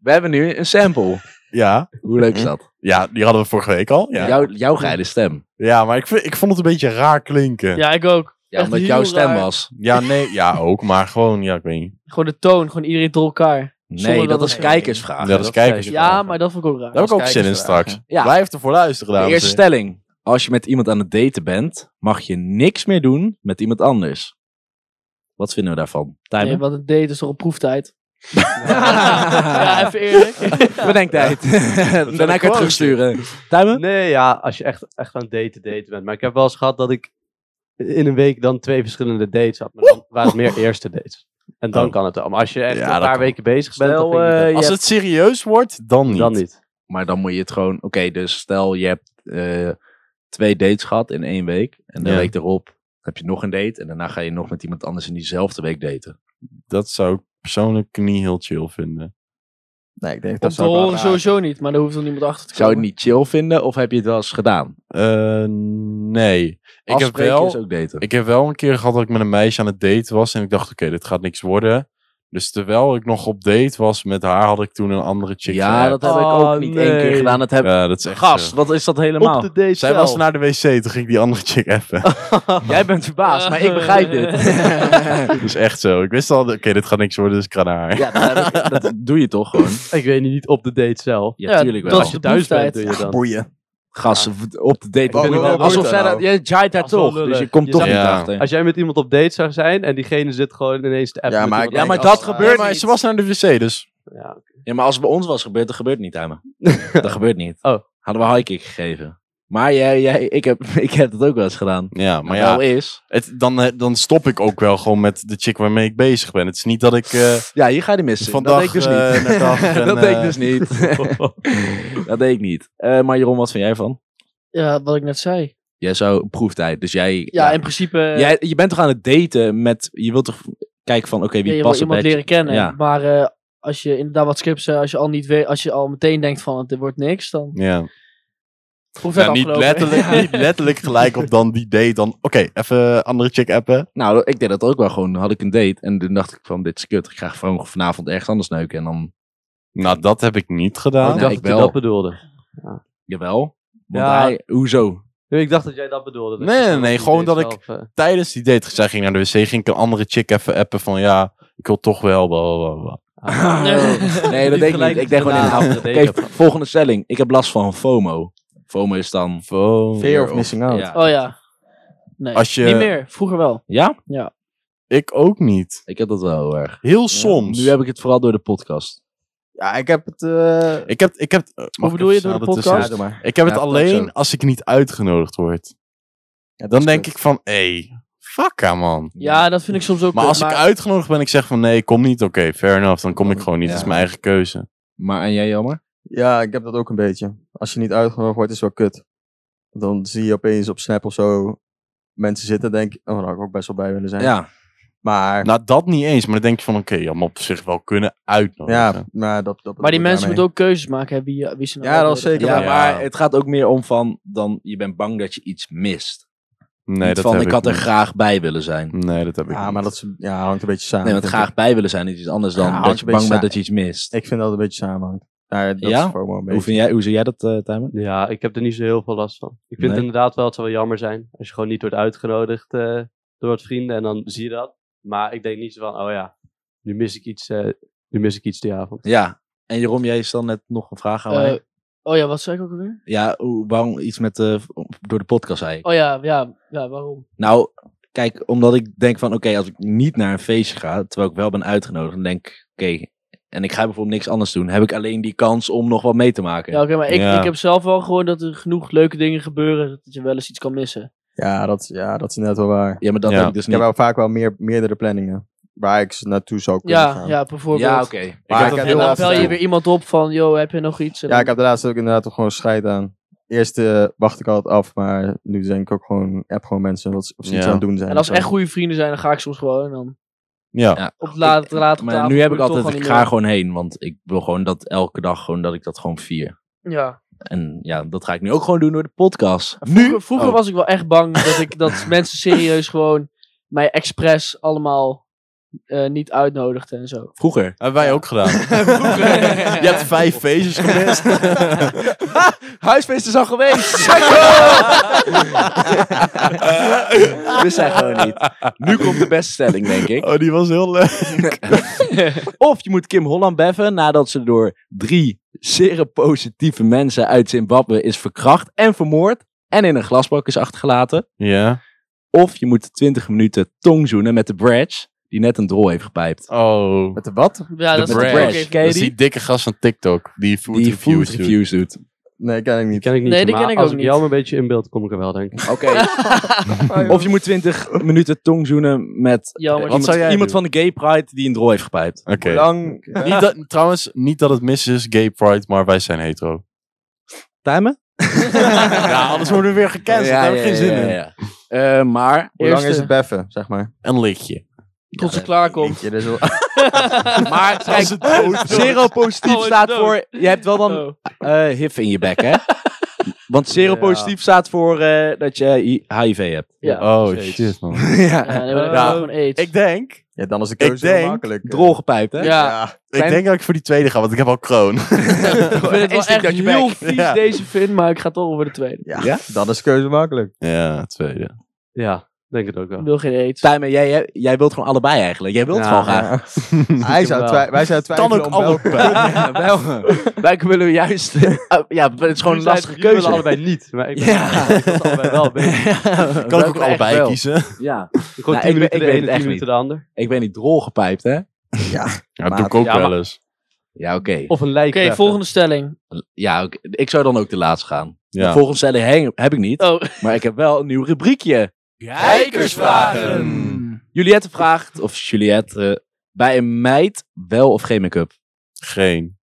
Speaker 2: We hebben nu een sample.
Speaker 3: Ja.
Speaker 2: Hoe leuk is dat?
Speaker 3: ja, die hadden we vorige week al. Ja, ja.
Speaker 2: Jouw, jouw geile stem.
Speaker 3: maar ik, vind- ik vond het een beetje raar klinken. Ja,
Speaker 5: Ja, ik ook.
Speaker 2: Ja,
Speaker 5: Echt
Speaker 2: omdat
Speaker 5: heel
Speaker 2: jouw stem
Speaker 5: raar.
Speaker 2: was.
Speaker 3: nee, ja ook, maar gewoon, ja, ik weet niet.
Speaker 5: Gewoon de toon, gewoon iedereen door elkaar.
Speaker 2: Nee,
Speaker 5: Zonder
Speaker 2: dat
Speaker 5: dat
Speaker 2: was
Speaker 5: het-
Speaker 2: kijkersvraag.
Speaker 3: Ja, dat is kijkers.
Speaker 5: Ja, maar dat vond ik ook raar.
Speaker 3: Daar heb ik ook
Speaker 1: Als
Speaker 3: zin in
Speaker 1: kijkersvragen.
Speaker 3: straks.
Speaker 2: Ja.
Speaker 3: Blijf ervoor luisteren,
Speaker 2: De
Speaker 3: dames.
Speaker 2: eerste stelling. Als je met iemand aan het daten bent, mag je niks meer doen met iemand anders. Wat vinden we daarvan? Timer?
Speaker 5: Nee, want het date is toch een proeftijd? ja, even eerlijk.
Speaker 2: Bedenktijd. Daarna kan je terugsturen. Timer?
Speaker 6: Nee, ja, als je echt, echt aan daten, daten bent. Maar ik heb wel eens gehad dat ik in een week dan twee verschillende dates had. Maar dan waren het meer eerste dates. En dan
Speaker 3: Oh.
Speaker 6: kan het wel. Maar als je echt
Speaker 3: Ja,
Speaker 6: een
Speaker 3: dat
Speaker 6: paar
Speaker 3: kan.
Speaker 6: weken bezig bent,
Speaker 2: Stel,
Speaker 6: dan,
Speaker 2: eh,
Speaker 6: ging
Speaker 2: je
Speaker 3: Als het serieus wordt, dan niet.
Speaker 6: dan niet.
Speaker 2: Maar dan moet je het gewoon... Oké, dus stel je hebt eh, twee dates gehad in één week. En de
Speaker 3: Ja.
Speaker 2: week erop heb je nog een date. En daarna ga je nog met iemand anders in diezelfde week daten.
Speaker 3: Dat zou ik persoonlijk niet heel chill vinden.
Speaker 1: Nee, ik denk
Speaker 5: Om
Speaker 1: dat
Speaker 5: te
Speaker 1: zou ik wel
Speaker 5: horen
Speaker 1: raar-
Speaker 5: sowieso niet, maar daar hoeft er niemand achter te komen.
Speaker 2: Zou je het niet chill vinden of heb je het wel eens gedaan?
Speaker 3: Eh, nee. Ik heb,
Speaker 2: Afspreken
Speaker 3: wel,
Speaker 2: is ook daten.
Speaker 3: ik heb wel een keer gehad dat ik met een meisje aan het date was. En ik dacht, oké, dit gaat niks worden. Dus terwijl ik nog op date was met haar, had ik toen een andere chick.
Speaker 2: ja, dat
Speaker 3: geappt.
Speaker 2: heb ik
Speaker 6: Oh,
Speaker 2: ook niet één keer
Speaker 6: nee.
Speaker 2: gedaan. Dat heb
Speaker 3: Ja, dat is echt
Speaker 2: Gast,
Speaker 3: zo.
Speaker 2: wat is dat helemaal?
Speaker 6: Op de date
Speaker 3: Zij was naar de wc, toen ging ik die andere chick effen.
Speaker 2: Jij bent verbaasd,
Speaker 5: Eh,
Speaker 2: maar ik begrijp dit.
Speaker 3: dat is echt zo. Ik wist al, oké, dit gaat niks worden, dus ik ga naar haar.
Speaker 2: ja, dat, heb ik- dat doe je toch gewoon?
Speaker 6: Ik weet niet, niet op de date zelf.
Speaker 2: Ja, tuurlijk wel.
Speaker 5: Dat
Speaker 6: Als
Speaker 5: is
Speaker 6: je
Speaker 5: de
Speaker 6: thuis bent,
Speaker 5: proeftijd.
Speaker 6: doe je dan.
Speaker 1: Boeien.
Speaker 2: Gas op de date.
Speaker 1: Oh,
Speaker 2: Ik ben-
Speaker 1: oh, oh,
Speaker 2: alsof
Speaker 1: oh,
Speaker 2: zij
Speaker 1: oh.
Speaker 2: dat... Je jaait daar
Speaker 6: Als wel
Speaker 2: toch,
Speaker 6: lullig.
Speaker 2: dus je komt
Speaker 6: Je
Speaker 2: toch
Speaker 3: zou-
Speaker 2: niet
Speaker 3: Ja.
Speaker 2: achter.
Speaker 6: Als jij met iemand op date zou zijn en diegene zit gewoon ineens te appen.
Speaker 1: Ja,
Speaker 6: met
Speaker 1: maar ik
Speaker 6: iemand
Speaker 2: Ja, maar
Speaker 1: denk
Speaker 2: dat
Speaker 1: als-
Speaker 2: gebeurt
Speaker 3: Nee, maar
Speaker 2: niet.
Speaker 3: ze was naar de wc, dus...
Speaker 6: anders. Ja, oké.
Speaker 2: Ja, maar als het bij ons was gebeurd, dat gebeurt niet, Tijmen. dat gebeurt niet.
Speaker 6: Oh.
Speaker 2: Hadden we highkick gegeven. Maar jij, jij, ik, heb, ik heb dat ook wel eens gedaan.
Speaker 3: Ja, maar
Speaker 2: Maar
Speaker 3: ja,
Speaker 2: wel is.
Speaker 3: het, dan, eh, dan stop ik ook wel gewoon met de chick waarmee ik bezig ben. Het is niet dat ik eh,
Speaker 2: Ja, hier ga je die missen.
Speaker 3: van
Speaker 2: dat
Speaker 3: dag
Speaker 2: deed ik dus
Speaker 3: eh,
Speaker 2: niet.
Speaker 3: naar dag en,
Speaker 2: dat deed ik
Speaker 3: eh,
Speaker 2: dus niet. dat deed ik niet. Eh, maar Jeroen, wat vind jij van?
Speaker 5: Ja, wat ik net zei.
Speaker 2: Jij zou proeftijd, dus jij...
Speaker 5: Ja, in principe... eh,
Speaker 2: jij, je bent toch aan het daten met... Je wilt toch kijken van, oké,
Speaker 5: ja,
Speaker 2: wie
Speaker 5: eh, je wil
Speaker 2: past er
Speaker 5: iemand
Speaker 2: bij-
Speaker 5: leren kennen.
Speaker 2: Ja.
Speaker 5: Maar eh, als je inderdaad wat skips zei, als je al niet weet, als je al meteen denkt van het wordt niks, dan
Speaker 3: Ja.
Speaker 5: proef
Speaker 3: Nou, niet, letterlijk, niet letterlijk gelijk op dan die date. Dan, oké, even andere chick appen.
Speaker 2: Nou, ik deed dat ook wel gewoon. Had ik een date en toen dacht ik van, dit is kut. Ik ga gewoon vanavond ergens anders neuken en dan...
Speaker 3: Nou, dat heb ik niet gedaan.
Speaker 6: ik
Speaker 2: Ja,
Speaker 6: dacht
Speaker 2: ik
Speaker 6: dat
Speaker 2: wel.
Speaker 6: je dat bedoelde.
Speaker 2: Jawel. Want
Speaker 6: Ja.
Speaker 2: hij, hoezo?
Speaker 6: Nee, ik dacht dat jij dat bedoelde.
Speaker 3: Nee, nee, nee, gewoon dat
Speaker 6: ik...
Speaker 3: Tijdens die date gezegd, ging naar de wc, ging ik een andere chick even appen van ja, ik wil toch wel. Bla, bla, bla, bla.
Speaker 2: Oh. Nee, dat deed ik niet. Ik deed gewoon in de avond. Oké, volgende stelling. Ik heb last van FOMO. FOMO is dan...
Speaker 1: Fear of missing out.
Speaker 2: Ja.
Speaker 5: Oh ja. Nee,
Speaker 3: Als je-
Speaker 5: niet meer. Vroeger wel.
Speaker 2: Ja?
Speaker 3: Ik ook niet.
Speaker 2: Ik heb dat wel heel erg.
Speaker 3: Heel soms.
Speaker 2: Nu heb ik het vooral door de podcast.
Speaker 1: Ja, ik heb het... eh,
Speaker 3: Ik heb, ik heb, eh, mag ik
Speaker 5: bedoel je
Speaker 3: even
Speaker 5: door de
Speaker 3: snel ertussen?
Speaker 5: podcast?
Speaker 2: doe maar.
Speaker 3: Ik heb het
Speaker 2: Ja, dat
Speaker 3: alleen
Speaker 2: ook
Speaker 3: als ik niet uitgenodigd word.
Speaker 1: ja, dat
Speaker 3: Dan
Speaker 1: is
Speaker 3: denk
Speaker 1: kut.
Speaker 3: ik van, hé, hey, fuck haar, man.
Speaker 5: Ja, dat vind ik soms ook. eh,
Speaker 3: Maar
Speaker 5: kut,
Speaker 3: als ik uitgenodigd ben, ik zeg van nee, kom niet. Oké, fair enough. Dan kom ik gewoon niet.
Speaker 2: Ja.
Speaker 3: Dat is mijn eigen keuze.
Speaker 2: Maar en jij jammer?
Speaker 1: Ja, ik heb dat ook een beetje. Als je niet uitgenodigd wordt, is wel kut. Dan zie je opeens op Snap of zo mensen zitten en denk je, oh, daar had ik ook best wel bij willen zijn.
Speaker 2: Ja.
Speaker 1: Maar,
Speaker 3: Nou, dat niet eens. Maar dan denk je van oké, je had me op zich wel kunnen uitnodigen.
Speaker 1: ja, maar dat, dat
Speaker 5: Maar die
Speaker 1: bedoel ik
Speaker 5: mensen
Speaker 1: daarmee.
Speaker 5: moeten ook keuzes maken. Hè, wie, wie ze nou
Speaker 1: Ja, dat is
Speaker 5: uitnodigen.
Speaker 1: zeker.
Speaker 2: Ja,
Speaker 1: waar.
Speaker 3: Ja.
Speaker 2: maar het gaat ook meer om van, dan je bent bang dat je iets mist.
Speaker 3: Nee,
Speaker 2: Niet
Speaker 3: dat
Speaker 2: van,
Speaker 3: heb
Speaker 2: ik had er
Speaker 3: niet.
Speaker 2: graag bij willen zijn.
Speaker 3: Nee, dat heb ik
Speaker 1: Ja,
Speaker 3: niet.
Speaker 1: maar dat is- ja, hangt een beetje samen.
Speaker 2: Nee, want
Speaker 1: vind ik.
Speaker 2: graag bij willen zijn is iets anders dan
Speaker 1: Ja,
Speaker 2: dat
Speaker 1: hangt
Speaker 2: je
Speaker 1: een
Speaker 2: bang
Speaker 1: beetje
Speaker 2: bent
Speaker 1: sa-
Speaker 2: dat je iets mist.
Speaker 1: Ik vind dat het een beetje samenhangt. Ja, dat
Speaker 2: Ja?
Speaker 1: is FOMO een
Speaker 2: Hoe,
Speaker 1: beetje.
Speaker 2: vind jij, hoe zie jij dat, eh Tijmen?
Speaker 6: Ja, ik heb er niet zo heel veel last van. Ik vind
Speaker 2: Nee?
Speaker 6: het inderdaad wel, het zou wel jammer zijn als je gewoon niet wordt uitgenodigd eh, door het vrienden en dan zie je dat. Maar ik denk niet zo van, oh ja, nu mis ik iets, eh, nu mis ik iets die avond.
Speaker 2: Ja. En Jeroen, jij stelde net nog een vraag aan mij.
Speaker 5: Eh, oh ja, wat zei ik ook alweer?
Speaker 2: Ja, hoe- waarom iets met eh, door de podcast zei ik.
Speaker 5: Oh ja, ja, ja waarom?
Speaker 2: Nou, kijk, omdat ik denk van, oké, als ik niet naar een feestje ga, terwijl ik wel ben uitgenodigd, dan denk ik, oké, en ik ga bijvoorbeeld niks anders doen, heb ik alleen die kans om nog wat mee te maken.
Speaker 5: Ja, oké, maar ik,
Speaker 3: Ja.
Speaker 5: ik heb zelf wel gehoord dat er genoeg leuke dingen gebeuren dat je wel eens iets kan missen.
Speaker 1: Ja, dat, ja, dat is net wel waar.
Speaker 2: Ja, maar dat
Speaker 3: Ja.
Speaker 2: heb ik dus
Speaker 1: Ik
Speaker 2: niet.
Speaker 1: heb wel vaak wel meer, meerdere planningen waar ik naartoe zou kunnen
Speaker 5: Ja,
Speaker 1: gaan.
Speaker 5: ja, bijvoorbeeld.
Speaker 2: ja, oké.
Speaker 1: Maar
Speaker 3: heb
Speaker 1: ik
Speaker 3: dat
Speaker 1: heb
Speaker 5: En
Speaker 3: heel
Speaker 5: dan
Speaker 1: erg
Speaker 5: bel je
Speaker 1: gedaan.
Speaker 5: weer iemand op van, yo, heb je nog iets? En
Speaker 1: Ja,
Speaker 5: dan-
Speaker 1: ik heb de laatste ook inderdaad toch gewoon scheid aan. Eerst eh, wacht ik altijd af, maar nu denk ik ook gewoon, app gewoon mensen wat ze, of ze iets
Speaker 3: Ja.
Speaker 1: aan het doen zijn.
Speaker 5: En als
Speaker 1: of zo.
Speaker 5: ze echt goede vrienden zijn, dan ga ik soms gewoon. En dan
Speaker 3: Ja.
Speaker 2: Ja.
Speaker 5: op de laat, laat
Speaker 2: Maar nu heb ik altijd, ik ga gewoon heen, want ik wil gewoon dat elke dag gewoon dat ik dat gewoon vier.
Speaker 5: Ja.
Speaker 2: En ja, dat ga ik nu ook gewoon doen door de podcast.
Speaker 5: Vroeger, vroeger
Speaker 2: Oh.
Speaker 5: was ik wel echt bang dat, ik, dat mensen serieus gewoon mij expres allemaal eh, niet uitnodigden en zo.
Speaker 2: Vroeger.
Speaker 3: Hebben wij ook gedaan. Je hebt vijf feestjes gemist.
Speaker 2: Huisfeest is al geweest. We zijn gewoon niet. Nu komt de beste stelling, denk ik.
Speaker 3: Oh, die was heel leuk.
Speaker 2: Of je moet Kim Holland beffen nadat ze door drie zeer positieve mensen uit Zimbabwe is verkracht en vermoord en in een glasbak is achtergelaten.
Speaker 3: Ja.
Speaker 2: Of je moet 20 minuten tongzoenen met de Bratch die net een drol heeft gepijpt.
Speaker 3: Oh.
Speaker 1: Met de wat?
Speaker 5: Ja, dat is
Speaker 3: Brad.
Speaker 5: ook even-
Speaker 2: Ken je
Speaker 3: Dat is die
Speaker 2: die?
Speaker 3: dikke gast van TikTok. Die food
Speaker 2: Die food
Speaker 3: reviews doet.
Speaker 2: reviews doet.
Speaker 1: Nee, ken ik
Speaker 6: Die
Speaker 1: niet.
Speaker 6: ken ik niet,
Speaker 5: Nee, die
Speaker 6: maar
Speaker 5: ken ik
Speaker 6: als
Speaker 5: ook
Speaker 6: ik
Speaker 5: niet.
Speaker 6: jou een beetje in beeld kom ik er wel, denk ik.
Speaker 2: Oké. of je moet 20 minuten tongzoenen met
Speaker 5: Jammer.
Speaker 3: Wat
Speaker 2: iemand,
Speaker 3: zou jij
Speaker 2: iemand
Speaker 3: doen?
Speaker 2: van de Gay Pride die een drol heeft gepijpt.
Speaker 3: Oké.
Speaker 1: Lang.
Speaker 3: Niet dat, trouwens, niet dat het mis is, gay pride, maar wij zijn hetero.
Speaker 2: Timen?
Speaker 3: ja, anders worden we weer gecanceld. Daar heb ik geen zin in.
Speaker 2: Eh, maar,
Speaker 1: Hoe lang
Speaker 5: Eerste.
Speaker 1: is het beffen, zeg maar?
Speaker 3: Een lichtje.
Speaker 5: Tot ze klaarkomt.
Speaker 1: Eentje, dus wel-
Speaker 2: maar kijk, zero positief
Speaker 5: Oh,
Speaker 2: staat
Speaker 5: dood.
Speaker 2: voor, je hebt wel dan
Speaker 5: Oh.
Speaker 2: eh HIV in je bek, hè? Want zero
Speaker 6: Ja.
Speaker 2: positief staat voor eh, dat je I- HIV hebt.
Speaker 5: Ja.
Speaker 3: Oh,
Speaker 6: steeds.
Speaker 3: shit, man.
Speaker 5: Ja, dan
Speaker 2: ja.
Speaker 5: hebben we
Speaker 3: Ja.
Speaker 5: gewoon aids.
Speaker 3: Ik denk,
Speaker 1: ja, dan is de keuze heel
Speaker 3: denk-
Speaker 1: makkelijk. eh.
Speaker 2: Drol gepijpt, hè?
Speaker 5: ja.
Speaker 3: ik denk dat ik voor die tweede ga, want ik heb al kroon.
Speaker 5: Ik vind het wel
Speaker 2: Instinct
Speaker 5: echt
Speaker 2: uit je
Speaker 5: heel
Speaker 2: bek.
Speaker 5: vies
Speaker 3: Ja.
Speaker 5: deze vind, maar ik ga toch over de tweede.
Speaker 1: Ja,
Speaker 2: Ja?
Speaker 1: dan is de keuze makkelijk.
Speaker 3: Ja, tweede.
Speaker 6: Ja, denk het ook wel.
Speaker 5: Ik wil geen aids.
Speaker 2: Tijmen, jij, jij, jij wilt gewoon allebei eigenlijk. Jij wilt
Speaker 6: Ja.
Speaker 2: gewoon graag.
Speaker 1: Ja. Hij zou
Speaker 6: wel.
Speaker 1: twi- wij zouden twijfelen
Speaker 3: ook
Speaker 1: om
Speaker 3: alle
Speaker 1: welke-
Speaker 2: Ja, wel. Wij willen we juist... eh, ja, het is gewoon een lastige
Speaker 6: Jullie zeiden- jullie
Speaker 2: keuze.
Speaker 6: willen allebei niet, maar ik ben
Speaker 2: Ja.
Speaker 6: ik wil allebei wel. Ben ik
Speaker 3: Ik kan ik ook allebei kiezen.
Speaker 2: Ja.
Speaker 6: Gewoon
Speaker 2: Nou,
Speaker 6: 10
Speaker 2: ik-
Speaker 6: minuten
Speaker 2: ik
Speaker 6: de
Speaker 2: weet
Speaker 6: ene,
Speaker 2: het echt
Speaker 6: 10 minuten de ander.
Speaker 2: Ik ben niet drol gepijpt, hè?
Speaker 3: Ja, dat
Speaker 1: Maar-
Speaker 3: doe ik ook
Speaker 6: Ja, maar-
Speaker 3: wel eens.
Speaker 2: Ja, oké.
Speaker 6: Of een lijk.
Speaker 5: Oké,
Speaker 6: leggen.
Speaker 5: volgende stelling.
Speaker 2: Ja, oké. ik zou dan ook de laatste gaan.
Speaker 3: Ja.
Speaker 2: Volgens Sally Heng heb ik niet.
Speaker 5: Oh.
Speaker 2: Maar ik heb wel een nieuw rubriekje. Ehm,
Speaker 5: Hmm.
Speaker 3: Kijkersvragen.
Speaker 2: Juliette vraagt, of Juliette, eh, bij een meid wel of geen make-up?
Speaker 3: Geen.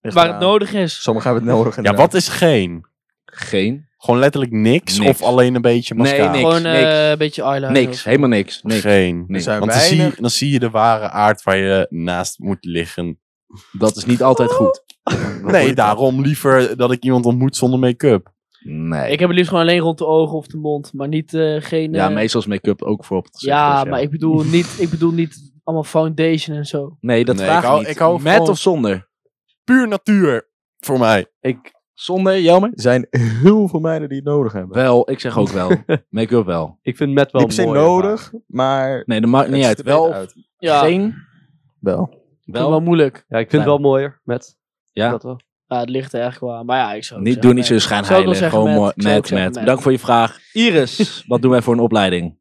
Speaker 1: Echt
Speaker 5: Waar
Speaker 1: waar.
Speaker 2: nou-
Speaker 5: het nodig is.
Speaker 1: Sommigen hebben het nodig.
Speaker 3: Ja, wat is geen?
Speaker 2: Geen.
Speaker 3: Gewoon letterlijk niks,
Speaker 2: Niks.
Speaker 3: of alleen een beetje
Speaker 2: Nee,
Speaker 3: mascara?
Speaker 2: niks.
Speaker 5: Gewoon eh,
Speaker 2: niks.
Speaker 5: een beetje eyeliner.
Speaker 2: Niks, helemaal niks. niks.
Speaker 3: Geen.
Speaker 2: Nee.
Speaker 1: zijn
Speaker 3: Want dan zie,
Speaker 1: weinig.
Speaker 3: je, dan zie je de ware aard waar je naast moet liggen.
Speaker 2: Dat is niet altijd goed.
Speaker 3: Nee, daarom liever dat ik iemand ontmoet zonder make-up.
Speaker 2: Nee.
Speaker 5: Ik heb het liefst gewoon alleen rond de ogen of de mond, maar niet eh, geen...
Speaker 2: ja,
Speaker 5: eh,
Speaker 2: meestal is make-up ook voor op het gezicht,
Speaker 5: ja,
Speaker 2: dus
Speaker 5: maar ik bedoel, niet, ik bedoel niet allemaal foundation en zo.
Speaker 2: Nee, dat
Speaker 3: Nee,
Speaker 2: vraag
Speaker 3: ik hou-
Speaker 2: niet.
Speaker 3: ik hou
Speaker 2: Met
Speaker 3: gewoon-
Speaker 2: of zonder?
Speaker 3: Puur natuur. Voor mij.
Speaker 6: Ik,
Speaker 2: Zonder, jammer?
Speaker 1: Er zijn heel veel meiden die het nodig hebben.
Speaker 2: Wel, ik zeg ook wel. Make-up wel.
Speaker 6: ik vind met wel
Speaker 1: Niet per se
Speaker 6: mooier,
Speaker 1: nodig, maar
Speaker 2: Nee, dat maakt
Speaker 1: het
Speaker 2: niet
Speaker 1: ziet
Speaker 2: uit.
Speaker 1: er beter
Speaker 2: Wel,
Speaker 1: uit.
Speaker 5: Ja, ik
Speaker 2: geen.
Speaker 1: Wel.
Speaker 5: vind het wel
Speaker 2: Wel,
Speaker 5: moeilijk.
Speaker 6: maar- Ja, ik vind het wel mooier met.
Speaker 2: Nou. Ja.
Speaker 6: Dat wel.
Speaker 5: Ja, het ligt er echt qua. Maar ja, ik zou
Speaker 2: niet,
Speaker 5: zeggen,
Speaker 2: doe niet zo
Speaker 5: nee. Zou ik wel
Speaker 2: schijnheilig.
Speaker 5: zeggen,
Speaker 2: Gewoon
Speaker 5: Matt.
Speaker 2: mooi.
Speaker 5: Ik zou ook
Speaker 2: Met,
Speaker 5: zeggen,
Speaker 2: met.
Speaker 5: Matt.
Speaker 2: Bedankt voor je vraag. Iris, wat doen wij voor een opleiding?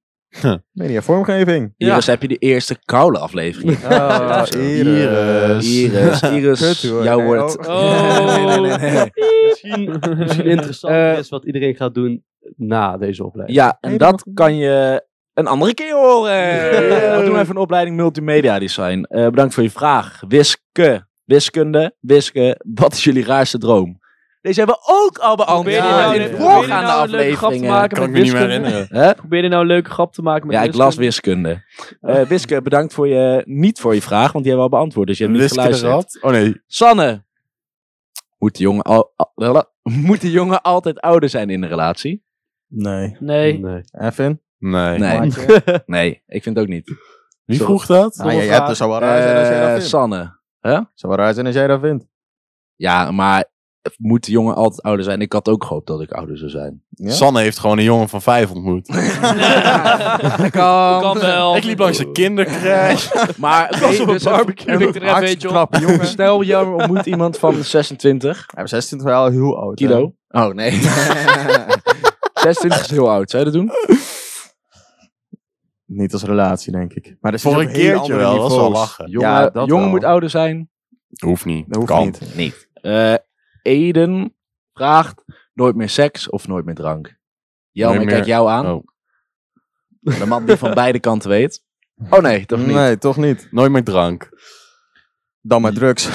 Speaker 1: Media vormgeving.
Speaker 5: Ja.
Speaker 2: Iris, heb je de eerste koude aflevering?
Speaker 1: Oh,
Speaker 2: Zo.
Speaker 1: Iris.
Speaker 2: Iris, Iris,
Speaker 1: Kut, hoor.
Speaker 2: jouw
Speaker 1: Nee,
Speaker 2: wordt...
Speaker 5: oh.
Speaker 2: nee, nee, nee, nee.
Speaker 6: Misschien, misschien interessant
Speaker 2: Eh,
Speaker 6: is wat iedereen gaat doen na deze opleiding.
Speaker 2: Ja, en dat kan je een andere keer horen. We doen even een opleiding multimedia design. Eh, bedankt voor je vraag. Wiske, wiskunde, wiske. Wat is jullie raarste droom? Deze hebben we ook al beantwoord
Speaker 5: Probeer
Speaker 2: in
Speaker 5: je nou,
Speaker 2: de
Speaker 5: probeer je
Speaker 2: voorgaande
Speaker 5: nou een leuke grap te
Speaker 2: afleveringen.
Speaker 5: maken
Speaker 3: Kan ik
Speaker 5: met
Speaker 3: me niet meer
Speaker 5: wiskunde?
Speaker 3: herinneren.
Speaker 2: Hè?
Speaker 5: Probeer nou een leuke grap te maken met
Speaker 2: Ja, ik
Speaker 5: wiskunde.
Speaker 2: las wiskunde. Eh, wiske, bedankt voor je, niet voor je vraag, want die hebben we al beantwoord. Dus je hebt niet
Speaker 3: Wiske de
Speaker 2: geluisterd.
Speaker 3: rat? Oh nee.
Speaker 2: Sanne. Moet de, jongen al, al- wel- moet de jongen altijd ouder zijn in een relatie?
Speaker 1: Nee.
Speaker 5: Nee.
Speaker 6: Nee.
Speaker 1: Even.
Speaker 3: Nee.
Speaker 2: Nee.
Speaker 1: Maatje.
Speaker 2: Nee, ik vind het ook niet.
Speaker 3: Wie
Speaker 2: Zo.
Speaker 3: vroeg dat?
Speaker 1: Ah, ja, je hebt er zo wel raar zijn als jij dat
Speaker 2: Eh
Speaker 1: vindt.
Speaker 2: Sanne.
Speaker 1: Zou wel raar zijn als jij dat vindt.
Speaker 2: Ja, maar moet de jongen altijd ouder zijn? Ik had ook gehoopt dat ik ouder zou zijn.
Speaker 1: Ja?
Speaker 3: Sanne heeft gewoon een jongen van vijf ontmoet.
Speaker 2: kan.
Speaker 5: Kan wel.
Speaker 3: Ik liep langs een kindercrash.
Speaker 2: Maar dus
Speaker 3: was op een barbecue.
Speaker 2: even-
Speaker 5: Pik er even
Speaker 1: Hartstikke
Speaker 5: eentje op.
Speaker 1: knappe jongen.
Speaker 2: Stel, je ontmoet iemand van 26
Speaker 1: Hij was 16 wel heel oud. hè?
Speaker 2: kilo. Oh, nee. 26 is heel oud. Zou je dat doen?
Speaker 1: Niet als relatie, denk ik. Maar er zit
Speaker 3: Voor
Speaker 1: ook
Speaker 3: een
Speaker 1: heel
Speaker 3: keertje
Speaker 1: andere
Speaker 3: wel, dat is wel
Speaker 1: niveaus.
Speaker 3: lachen.
Speaker 2: Jongen,
Speaker 1: Ja, dat
Speaker 2: jongen
Speaker 1: wel.
Speaker 2: moet ouder zijn.
Speaker 3: Hoeft niet.
Speaker 1: Dat hoeft
Speaker 3: kan.
Speaker 1: niet.
Speaker 2: Niet. Eh, Eden vraagt nooit meer seks of nooit meer drank. Jelme,
Speaker 3: Nooit
Speaker 2: ik
Speaker 3: meer-
Speaker 2: kijk jou aan.
Speaker 3: Oh.
Speaker 2: De man die van beide kanten weet. Oh nee, toch niet.
Speaker 1: Nee, toch niet.
Speaker 3: Nooit meer drank.
Speaker 1: Dan maar drugs.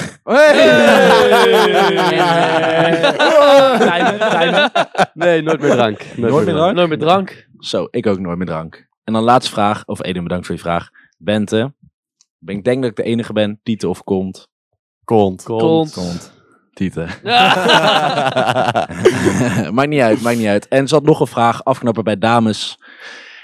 Speaker 5: Timer, timer.
Speaker 6: Nee, nooit meer drank.
Speaker 2: Nooit meer drank?
Speaker 5: Nooit meer drank.
Speaker 2: Zo, ik ook nooit meer drank. En dan laatste vraag, of Eden, bedankt voor je vraag. Bente, ben- ik denk dat ik de enige ben, Tieten of Kont.
Speaker 3: Kont.
Speaker 5: Kont.
Speaker 2: Tieten.
Speaker 5: Ja.
Speaker 2: maakt niet uit, maakt niet uit. En zat nog een vraag, afknappen bij dames.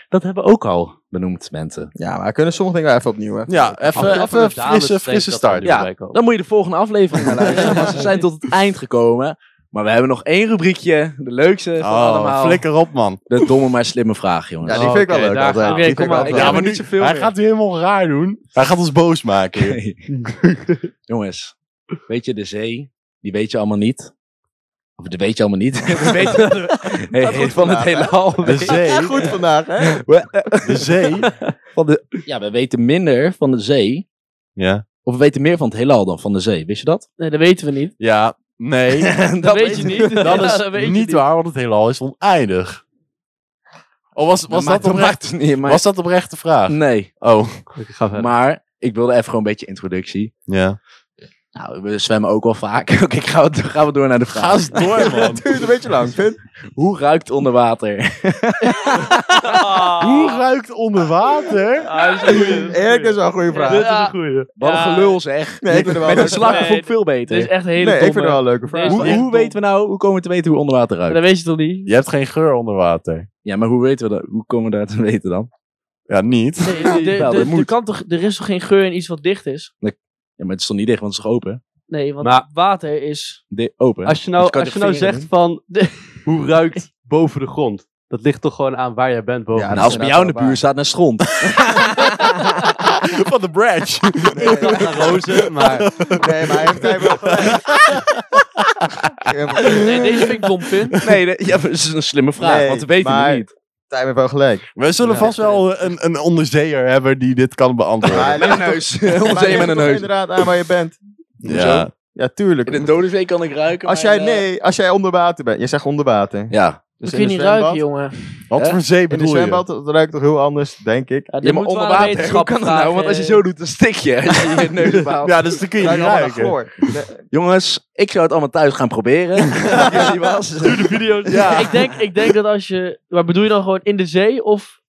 Speaker 2: Dat hebben we ook al benoemd, Bente.
Speaker 1: Ja, maar kunnen sommige dingen wel even opnieuw. Hè?
Speaker 3: Ja, even, even frisse, frisse start.
Speaker 2: Ja. Dan moet je de volgende aflevering naar luisteren, want ze zijn tot het eind gekomen. Maar we hebben nog één rubriekje, de leukste van
Speaker 3: Oh,
Speaker 2: allemaal.
Speaker 3: flikker op man.
Speaker 2: De domme maar slimme vraag, jongens. Oh,
Speaker 1: Ja, die vind ik wel
Speaker 6: Oké,
Speaker 1: leuk
Speaker 6: daar
Speaker 1: altijd.
Speaker 6: gaan we.
Speaker 1: Die
Speaker 5: Oké,
Speaker 1: vind
Speaker 5: kom
Speaker 1: ik wel
Speaker 5: maar.
Speaker 1: leuk.
Speaker 5: Ja, maar niet zoveel
Speaker 3: Hij
Speaker 5: meer.
Speaker 3: gaat het helemaal raar doen. Hij gaat ons boos maken. hier.
Speaker 2: Jongens, weet je, de zee, die weet je allemaal niet. Of dat weet je allemaal niet. We weten dat we- Hey,
Speaker 1: goed
Speaker 2: van het
Speaker 1: vandaag, hè?
Speaker 2: hele al.
Speaker 3: De zee,
Speaker 1: Goed vandaag, hè?
Speaker 3: de zee.
Speaker 2: Ja, we weten minder van de zee.
Speaker 3: Ja.
Speaker 2: Of we weten meer van het heelal dan van de zee. Wist je dat?
Speaker 5: Nee, dat weten we niet.
Speaker 3: Ja, nee.
Speaker 5: Dat, weet je niet.
Speaker 3: Dat is
Speaker 5: Ja, dat weet je
Speaker 3: niet waar, want het heelal is oneindig. Oh, was, was, dat, oprecht,
Speaker 2: maakt het niet maar-
Speaker 3: was dat oprecht de vraag?
Speaker 2: Nee,
Speaker 3: Oh,
Speaker 6: Ik ga verder.
Speaker 2: maar ik wilde even gewoon een beetje introductie.
Speaker 3: ja.
Speaker 2: Nou, we zwemmen ook wel vaak. Oké, ik ga, gaan we door naar de vraag.
Speaker 3: Ga eens door, man.
Speaker 1: Duurt een beetje lang, vind
Speaker 2: Hoe ruikt onder water?
Speaker 3: Hoe ruikt onder water?
Speaker 5: Ah, dat is een goeie, dat is een
Speaker 1: Erik
Speaker 5: goeie.
Speaker 1: is wel een goede vraag.
Speaker 5: Dit is
Speaker 2: Ja.
Speaker 5: een goeie.
Speaker 2: Wat een
Speaker 5: Ja.
Speaker 2: gelul zeg.
Speaker 1: Nee, ik vind het wel
Speaker 2: Met
Speaker 1: leuk.
Speaker 2: een Dus slag
Speaker 5: Nee,
Speaker 2: vond ik veel beter.
Speaker 5: Dit is echt een hele
Speaker 1: Nee, ik vind het
Speaker 5: domme.
Speaker 1: wel een leuke vraag.
Speaker 5: Deze-
Speaker 2: hoe hoe weten we nou, hoe komen we te weten hoe onder water ruikt?
Speaker 5: Dat weet je toch niet?
Speaker 3: Je hebt geen geur onder water.
Speaker 2: Ja, maar hoe, weten we dat? hoe komen we daar te weten dan?
Speaker 3: Ja, niet.
Speaker 5: Nee, de- de-
Speaker 2: Wel, dat
Speaker 5: de-
Speaker 2: moet.
Speaker 5: er kan toch, er is toch geen geur in iets wat dicht is?
Speaker 2: Ja, maar het is toch niet dicht, want het is toch open?
Speaker 5: Nee, want
Speaker 6: Maar-
Speaker 5: water is...
Speaker 2: De open.
Speaker 6: Als je
Speaker 2: Dus
Speaker 6: nou,
Speaker 2: kan
Speaker 6: als
Speaker 2: je
Speaker 6: je nou
Speaker 2: vinger
Speaker 6: zegt van, hoe ruikt boven de grond? Dat ligt toch gewoon aan waar jij bent boven
Speaker 1: Ja,
Speaker 6: de
Speaker 2: nou, als het bij
Speaker 1: inderdaad
Speaker 2: jou
Speaker 1: wel
Speaker 2: in de buurt
Speaker 1: waar.
Speaker 2: staat, naar stront.
Speaker 3: Van de branch.
Speaker 6: grond. Aan rozen, maar
Speaker 1: Nee, maar hij heeft hij wel gelijk. Ja, maar-
Speaker 5: Nee, deze vind ik dom, Pin.
Speaker 2: nee, dat- ja, maar dat is een slimme vraag,
Speaker 1: Nee,
Speaker 2: want we weten
Speaker 1: maar-
Speaker 2: het niet.
Speaker 1: Hij heeft wel gelijk.
Speaker 3: We zullen
Speaker 1: Ja.
Speaker 3: vast wel een, een onderzeeër hebben die dit kan
Speaker 1: Maar hij
Speaker 3: beantwoorden.
Speaker 1: ligt toch-
Speaker 2: neus. Onze
Speaker 1: maar hij
Speaker 2: een met
Speaker 1: ligt
Speaker 2: een
Speaker 1: toch
Speaker 2: neus.
Speaker 1: inderdaad aan waar je bent.
Speaker 3: Ja.
Speaker 1: Ja, tuurlijk.
Speaker 2: In een dodenzee kan ik ruiken.
Speaker 1: Als
Speaker 2: maar,
Speaker 1: jij,
Speaker 2: eh,
Speaker 1: nee, als jij onder water bent. Jij zegt onder water.
Speaker 2: Ja.
Speaker 1: Dus
Speaker 5: kun je
Speaker 1: in een
Speaker 5: niet ruiken,
Speaker 1: zwembad-
Speaker 5: jongen.
Speaker 3: Wat
Speaker 2: Hè?
Speaker 3: voor zee
Speaker 1: In een
Speaker 3: bedoel je?
Speaker 1: zwembad dat ruikt toch heel anders, denk ik.
Speaker 2: Ja,
Speaker 5: Ja, dit
Speaker 2: maar
Speaker 5: moeten we
Speaker 2: onder
Speaker 5: aan
Speaker 2: water. Hoe
Speaker 5: wetenschappers
Speaker 2: kan dat nou?
Speaker 5: vragen,
Speaker 2: Want als je
Speaker 5: eh.
Speaker 2: zo doet, dan stik je. Als je je neus behaalt.
Speaker 3: Ja, dus dan kun je niet
Speaker 1: allemaal naar
Speaker 3: ruiken.
Speaker 1: chloor.
Speaker 2: Jongens, ik zou het allemaal thuis gaan proberen. Als jullie was.
Speaker 6: video's.
Speaker 2: Ja.
Speaker 5: Ik, denk, ik denk dat als je... Maar bedoel je dan gewoon in de zee of...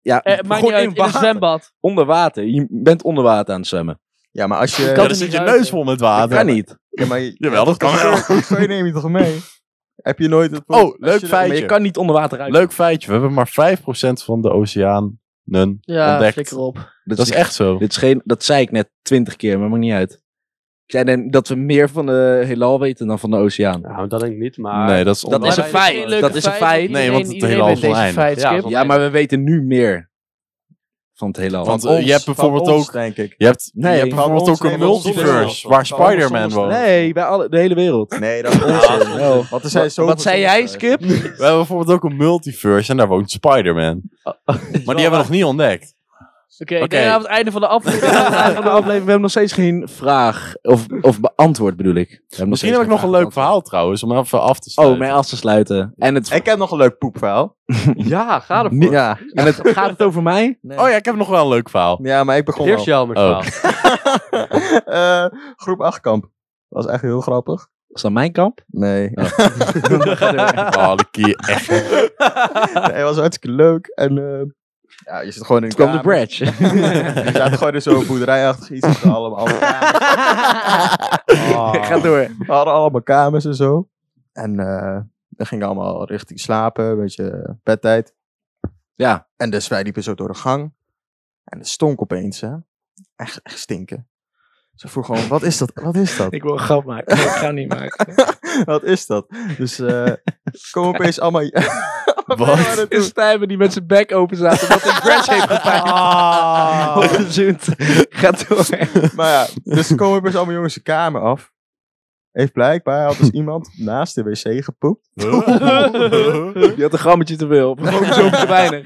Speaker 2: Ja,
Speaker 5: Eh, maakt niet uit, in een
Speaker 2: water.
Speaker 5: zwembad.
Speaker 2: Onder water. Je bent onder water aan het zwemmen.
Speaker 1: Ja, maar als je...
Speaker 5: kan
Speaker 3: Ja,
Speaker 5: het
Speaker 3: dan
Speaker 5: niet
Speaker 3: zit je
Speaker 5: ruiken.
Speaker 3: neus vol met
Speaker 2: Dat
Speaker 3: water.
Speaker 2: kan niet.
Speaker 1: Ja, maar je-
Speaker 3: Jawel, dat kan wel.
Speaker 1: Die gooi neem je toch mee? Heb je nooit het...
Speaker 3: Oh, leuk
Speaker 1: als je-
Speaker 3: feit.
Speaker 2: Maar je kan niet onder water ruiken.
Speaker 3: Leuk feitje, we hebben maar 5% van de oceanen
Speaker 5: Ja,
Speaker 3: ontdekt.
Speaker 5: flikker op.
Speaker 2: Dat,
Speaker 3: Dat is echt zo.
Speaker 2: Dit is geen, dat zei ik net twintig keer, maar maakt niet uit. Ik zei net dat we meer van de heelal weten dan van de oceaan.
Speaker 6: Nou, dat denk ik niet, maar...
Speaker 3: nee, dat is
Speaker 2: Dat is
Speaker 3: onwaar.
Speaker 2: een feit.
Speaker 5: Leuke
Speaker 2: Dat is een
Speaker 5: feit,
Speaker 2: feit.
Speaker 3: Nee, want het
Speaker 5: iedereen-
Speaker 3: hele
Speaker 5: iedereen
Speaker 3: halve
Speaker 5: weet deze
Speaker 3: lijn.
Speaker 5: feit,
Speaker 6: Ja,
Speaker 5: Skip.
Speaker 6: dat is
Speaker 2: Ja, maar we weten nu meer van het heelal.
Speaker 3: Want
Speaker 1: Van
Speaker 3: eh,
Speaker 1: ons,
Speaker 3: je hebt bijvoorbeeld
Speaker 1: van ons,
Speaker 3: ook-
Speaker 1: denk ik.
Speaker 3: Je hebt,
Speaker 2: Nee,
Speaker 3: je hebt
Speaker 1: van
Speaker 3: bijvoorbeeld
Speaker 1: ons
Speaker 3: ook een
Speaker 1: nemen we ons
Speaker 3: multiverse
Speaker 1: zonder-
Speaker 3: waar
Speaker 1: van ons
Speaker 3: Spider-Man
Speaker 1: zonder-
Speaker 3: woont.
Speaker 2: nee, bij alle, de hele wereld.
Speaker 1: Nee, dat is onzin.
Speaker 2: Ah, Wel.
Speaker 1: Want er zijn
Speaker 2: Wat,
Speaker 1: zoveel
Speaker 2: wat zei jij,
Speaker 1: soorten.
Speaker 2: Skip?
Speaker 3: We hebben bijvoorbeeld ook een multiverse en daar woont Spider-Man.
Speaker 2: Oh.
Speaker 3: Maar die hebben we nog niet ontdekt.
Speaker 5: Oké, ik
Speaker 3: Oké.
Speaker 5: denk aan het einde van de
Speaker 2: We
Speaker 5: aflevering.
Speaker 2: hebben nog steeds geen vraag. Of, of beantwoord bedoel ik. We hebben nog
Speaker 3: Misschien
Speaker 2: steeds
Speaker 3: heb
Speaker 2: geen
Speaker 3: ik nog
Speaker 2: vraag
Speaker 3: een leuk
Speaker 2: beantwoord.
Speaker 3: verhaal trouwens, om even af te
Speaker 2: Oh,
Speaker 3: sluiten.
Speaker 2: om mij af te sluiten. En het,
Speaker 1: Ik heb nog een leuk poepverhaal.
Speaker 6: Ja, ga ervoor.
Speaker 2: Ni- ja. en het gaat het over mij?
Speaker 1: Nee.
Speaker 3: Oh ja, ik heb nog wel een leuk verhaal.
Speaker 1: Ja, maar ik begon
Speaker 6: Eerst
Speaker 1: al.
Speaker 6: jou met
Speaker 3: Oh.
Speaker 6: verhaal.
Speaker 1: Eh, groep 8 kamp. was echt heel grappig.
Speaker 2: Is dat mijn kamp?
Speaker 1: Nee.
Speaker 3: Oh, de kier echt.
Speaker 1: Hij was hartstikke leuk. En eh, ja, je zit gewoon in een
Speaker 2: Toen kwam de
Speaker 1: kamer.
Speaker 2: bridge.
Speaker 1: Je zaten gewoon in zo'n boerderijachtig iets. met allemaal Oh. kamers.
Speaker 2: Ga door.
Speaker 1: We hadden allemaal kamers en zo. En eh we gingen allemaal richting slapen. Een beetje eh, bedtijd.
Speaker 2: Ja.
Speaker 1: En dus wij liepen zo door de gang. En het stonk opeens, hè. Echt, echt stinken. Ze vroeg gewoon, wat is dat? Wat is dat?
Speaker 4: Ik wil een grap maken. maar Ik ga niet maken.
Speaker 1: Wat is dat? Dus eh komen opeens allemaal...
Speaker 3: Wat?
Speaker 2: Is Stijmen die met zijn bek open staat omdat hij bridge heeft gepakt.
Speaker 4: Ah.
Speaker 2: Opgezoend. Oh, Ga door.
Speaker 1: Maar ja, dus er komen opeens allemaal jongens de kamer af. Heeft blijkbaar had dus iemand naast de wc gepoept.
Speaker 2: Je had een grammetje te veel. Op een chromosoompje te weinig.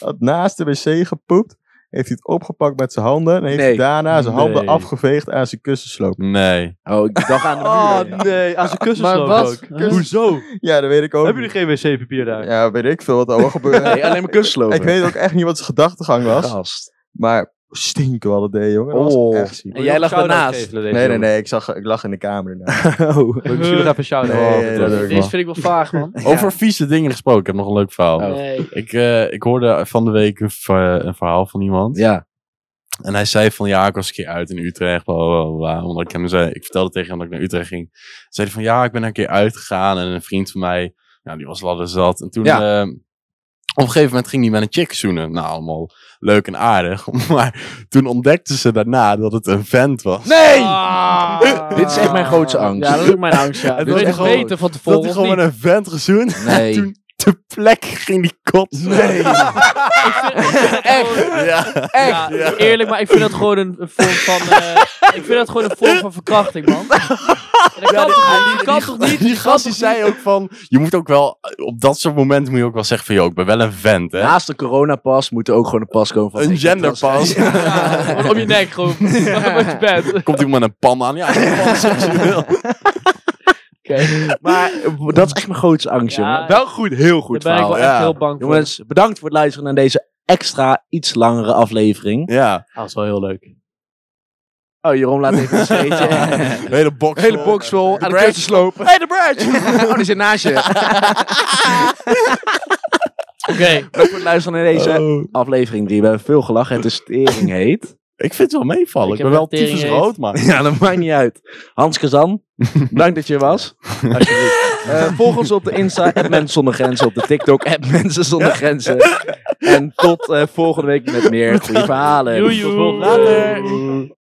Speaker 1: Had naast de wc gepoept. Heeft hij het opgepakt met zijn handen. En heeft
Speaker 2: Nee.
Speaker 1: hij daarna zijn handen
Speaker 6: Nee.
Speaker 1: afgeveegd aan zijn kussensloop.
Speaker 3: Nee.
Speaker 2: Oh, ik dacht aan de
Speaker 6: Oh
Speaker 2: muur.
Speaker 6: nee, aan zijn kussens
Speaker 5: Maar
Speaker 6: lopen
Speaker 5: wat?
Speaker 6: ook.
Speaker 5: Huh?
Speaker 6: Hoezo?
Speaker 1: Ja, dat weet ik ook
Speaker 6: Hebben jullie
Speaker 1: niet.
Speaker 6: geen wc-papier daar?
Speaker 1: Ja, weet ik veel wat er allemaal gebeurde.
Speaker 2: Nee, alleen mijn kussenslopen.
Speaker 1: Ik weet ook echt niet wat zijn gedachtegang was.
Speaker 2: Gast.
Speaker 1: Maar stinken wel dat deed, jongen. Dat was
Speaker 2: Oh.
Speaker 1: echt ziek.
Speaker 2: En jij lag ernaast.
Speaker 1: Nee, nee, nee. Ik, zag, ik lag in de kamer. daarna.
Speaker 2: Oh.
Speaker 6: We zullen nog even shout
Speaker 1: Nee, dat doe ik wel.
Speaker 5: Deze vind ik wel vaag, man.
Speaker 3: Over vieze dingen gesproken, ik heb nog een leuk verhaal.
Speaker 2: Oh.
Speaker 5: Nee.
Speaker 3: Ik, eh, ik hoorde van de week een, ver- een verhaal van iemand.
Speaker 2: Ja.
Speaker 3: En hij zei van, ja, ik was een keer uit in Utrecht. Bla, bla, bla, bla. omdat ik, hem zei, ik vertelde tegen hem dat ik naar Utrecht ging. Toen zei hij van, ja, ik ben een keer uitgegaan. En een vriend van mij, nou, die was ladder zat. En toen,
Speaker 2: Ja.
Speaker 3: eh, op een gegeven moment ging hij met een chick zoenen. Nou, allemaal leuk en aardig. Maar toen ontdekte ze daarna dat het een vent was.
Speaker 2: Nee!
Speaker 5: Ah.
Speaker 2: Dit is echt mijn grootste angst.
Speaker 5: Ja, dat is ook mijn angst, ja.
Speaker 3: Het
Speaker 5: Wil
Speaker 3: was
Speaker 5: je het
Speaker 3: gewoon-
Speaker 5: weten van
Speaker 3: dat hij
Speaker 5: tevoren
Speaker 3: gewoon
Speaker 5: of
Speaker 3: met
Speaker 5: niet?
Speaker 3: een vent gezoend.
Speaker 2: Nee.
Speaker 3: En toen te plek ging die kotsen. Nee.
Speaker 5: Echt?
Speaker 3: ja.
Speaker 5: Echt?
Speaker 3: Ja.
Speaker 5: Eerlijk, maar ik vind dat gewoon een, een vorm van... eh, ik vind dat gewoon een vorm van verkrachting, man. Dat kan toch niet? Dat kan toch niet?
Speaker 3: Die
Speaker 5: Dat kan
Speaker 3: gast die
Speaker 5: toch niet?
Speaker 3: zei ook van, je moet ook wel, op dat soort momenten moet je ook wel zeggen van, joh, ik ben wel een vent, hè.
Speaker 2: Naast de coronapas moet er ook gewoon een pas komen van...
Speaker 3: een
Speaker 2: ik-
Speaker 3: genderpas.
Speaker 5: Ja, gewoon om je nek gewoon. Wat je bent. Oké.
Speaker 3: Komt iemand met een pan aan? Ja, een pan seksueel.
Speaker 2: Maar eh, dat is echt mijn grootste angst,
Speaker 5: Ja,
Speaker 2: jongen.
Speaker 5: ja.
Speaker 2: Wel goed, heel goed
Speaker 5: Daar ben ik
Speaker 2: verhaal.
Speaker 5: wel
Speaker 3: ja.
Speaker 5: echt heel bang voor.
Speaker 2: Jongens, bedankt voor het luisteren naar deze extra, iets langere aflevering.
Speaker 3: Ja,
Speaker 6: Dat is wel heel leuk.
Speaker 2: Oh, Jeroen laat even een scheetje.
Speaker 3: een hele box.
Speaker 2: Hele box eh, vol. Aan de kussen slopen. Hey, de bridge! Oh, die zit naast je.
Speaker 5: Oké.
Speaker 2: Bedankt voor het luisteren naar deze aflevering 3. We hebben veel gelachen. Het is tering heet.
Speaker 3: Ik vind het wel meevallen.
Speaker 5: Ik
Speaker 3: Ik,
Speaker 5: heb
Speaker 3: ben wel
Speaker 5: een tering
Speaker 3: tyfus
Speaker 5: heet.
Speaker 3: rood, man.
Speaker 2: Ja, dat maakt niet uit. Hans Kazan, bedankt dat je er was. Eh, volg ons op de Insta, at Mensen Zonder Grenzen. Op de TikTok, at Mensen Zonder Grenzen. En tot eh, volgende week met meer goede verhalen.
Speaker 5: Joejoe.
Speaker 2: Tot volgende-
Speaker 3: Later.
Speaker 5: Joejoe.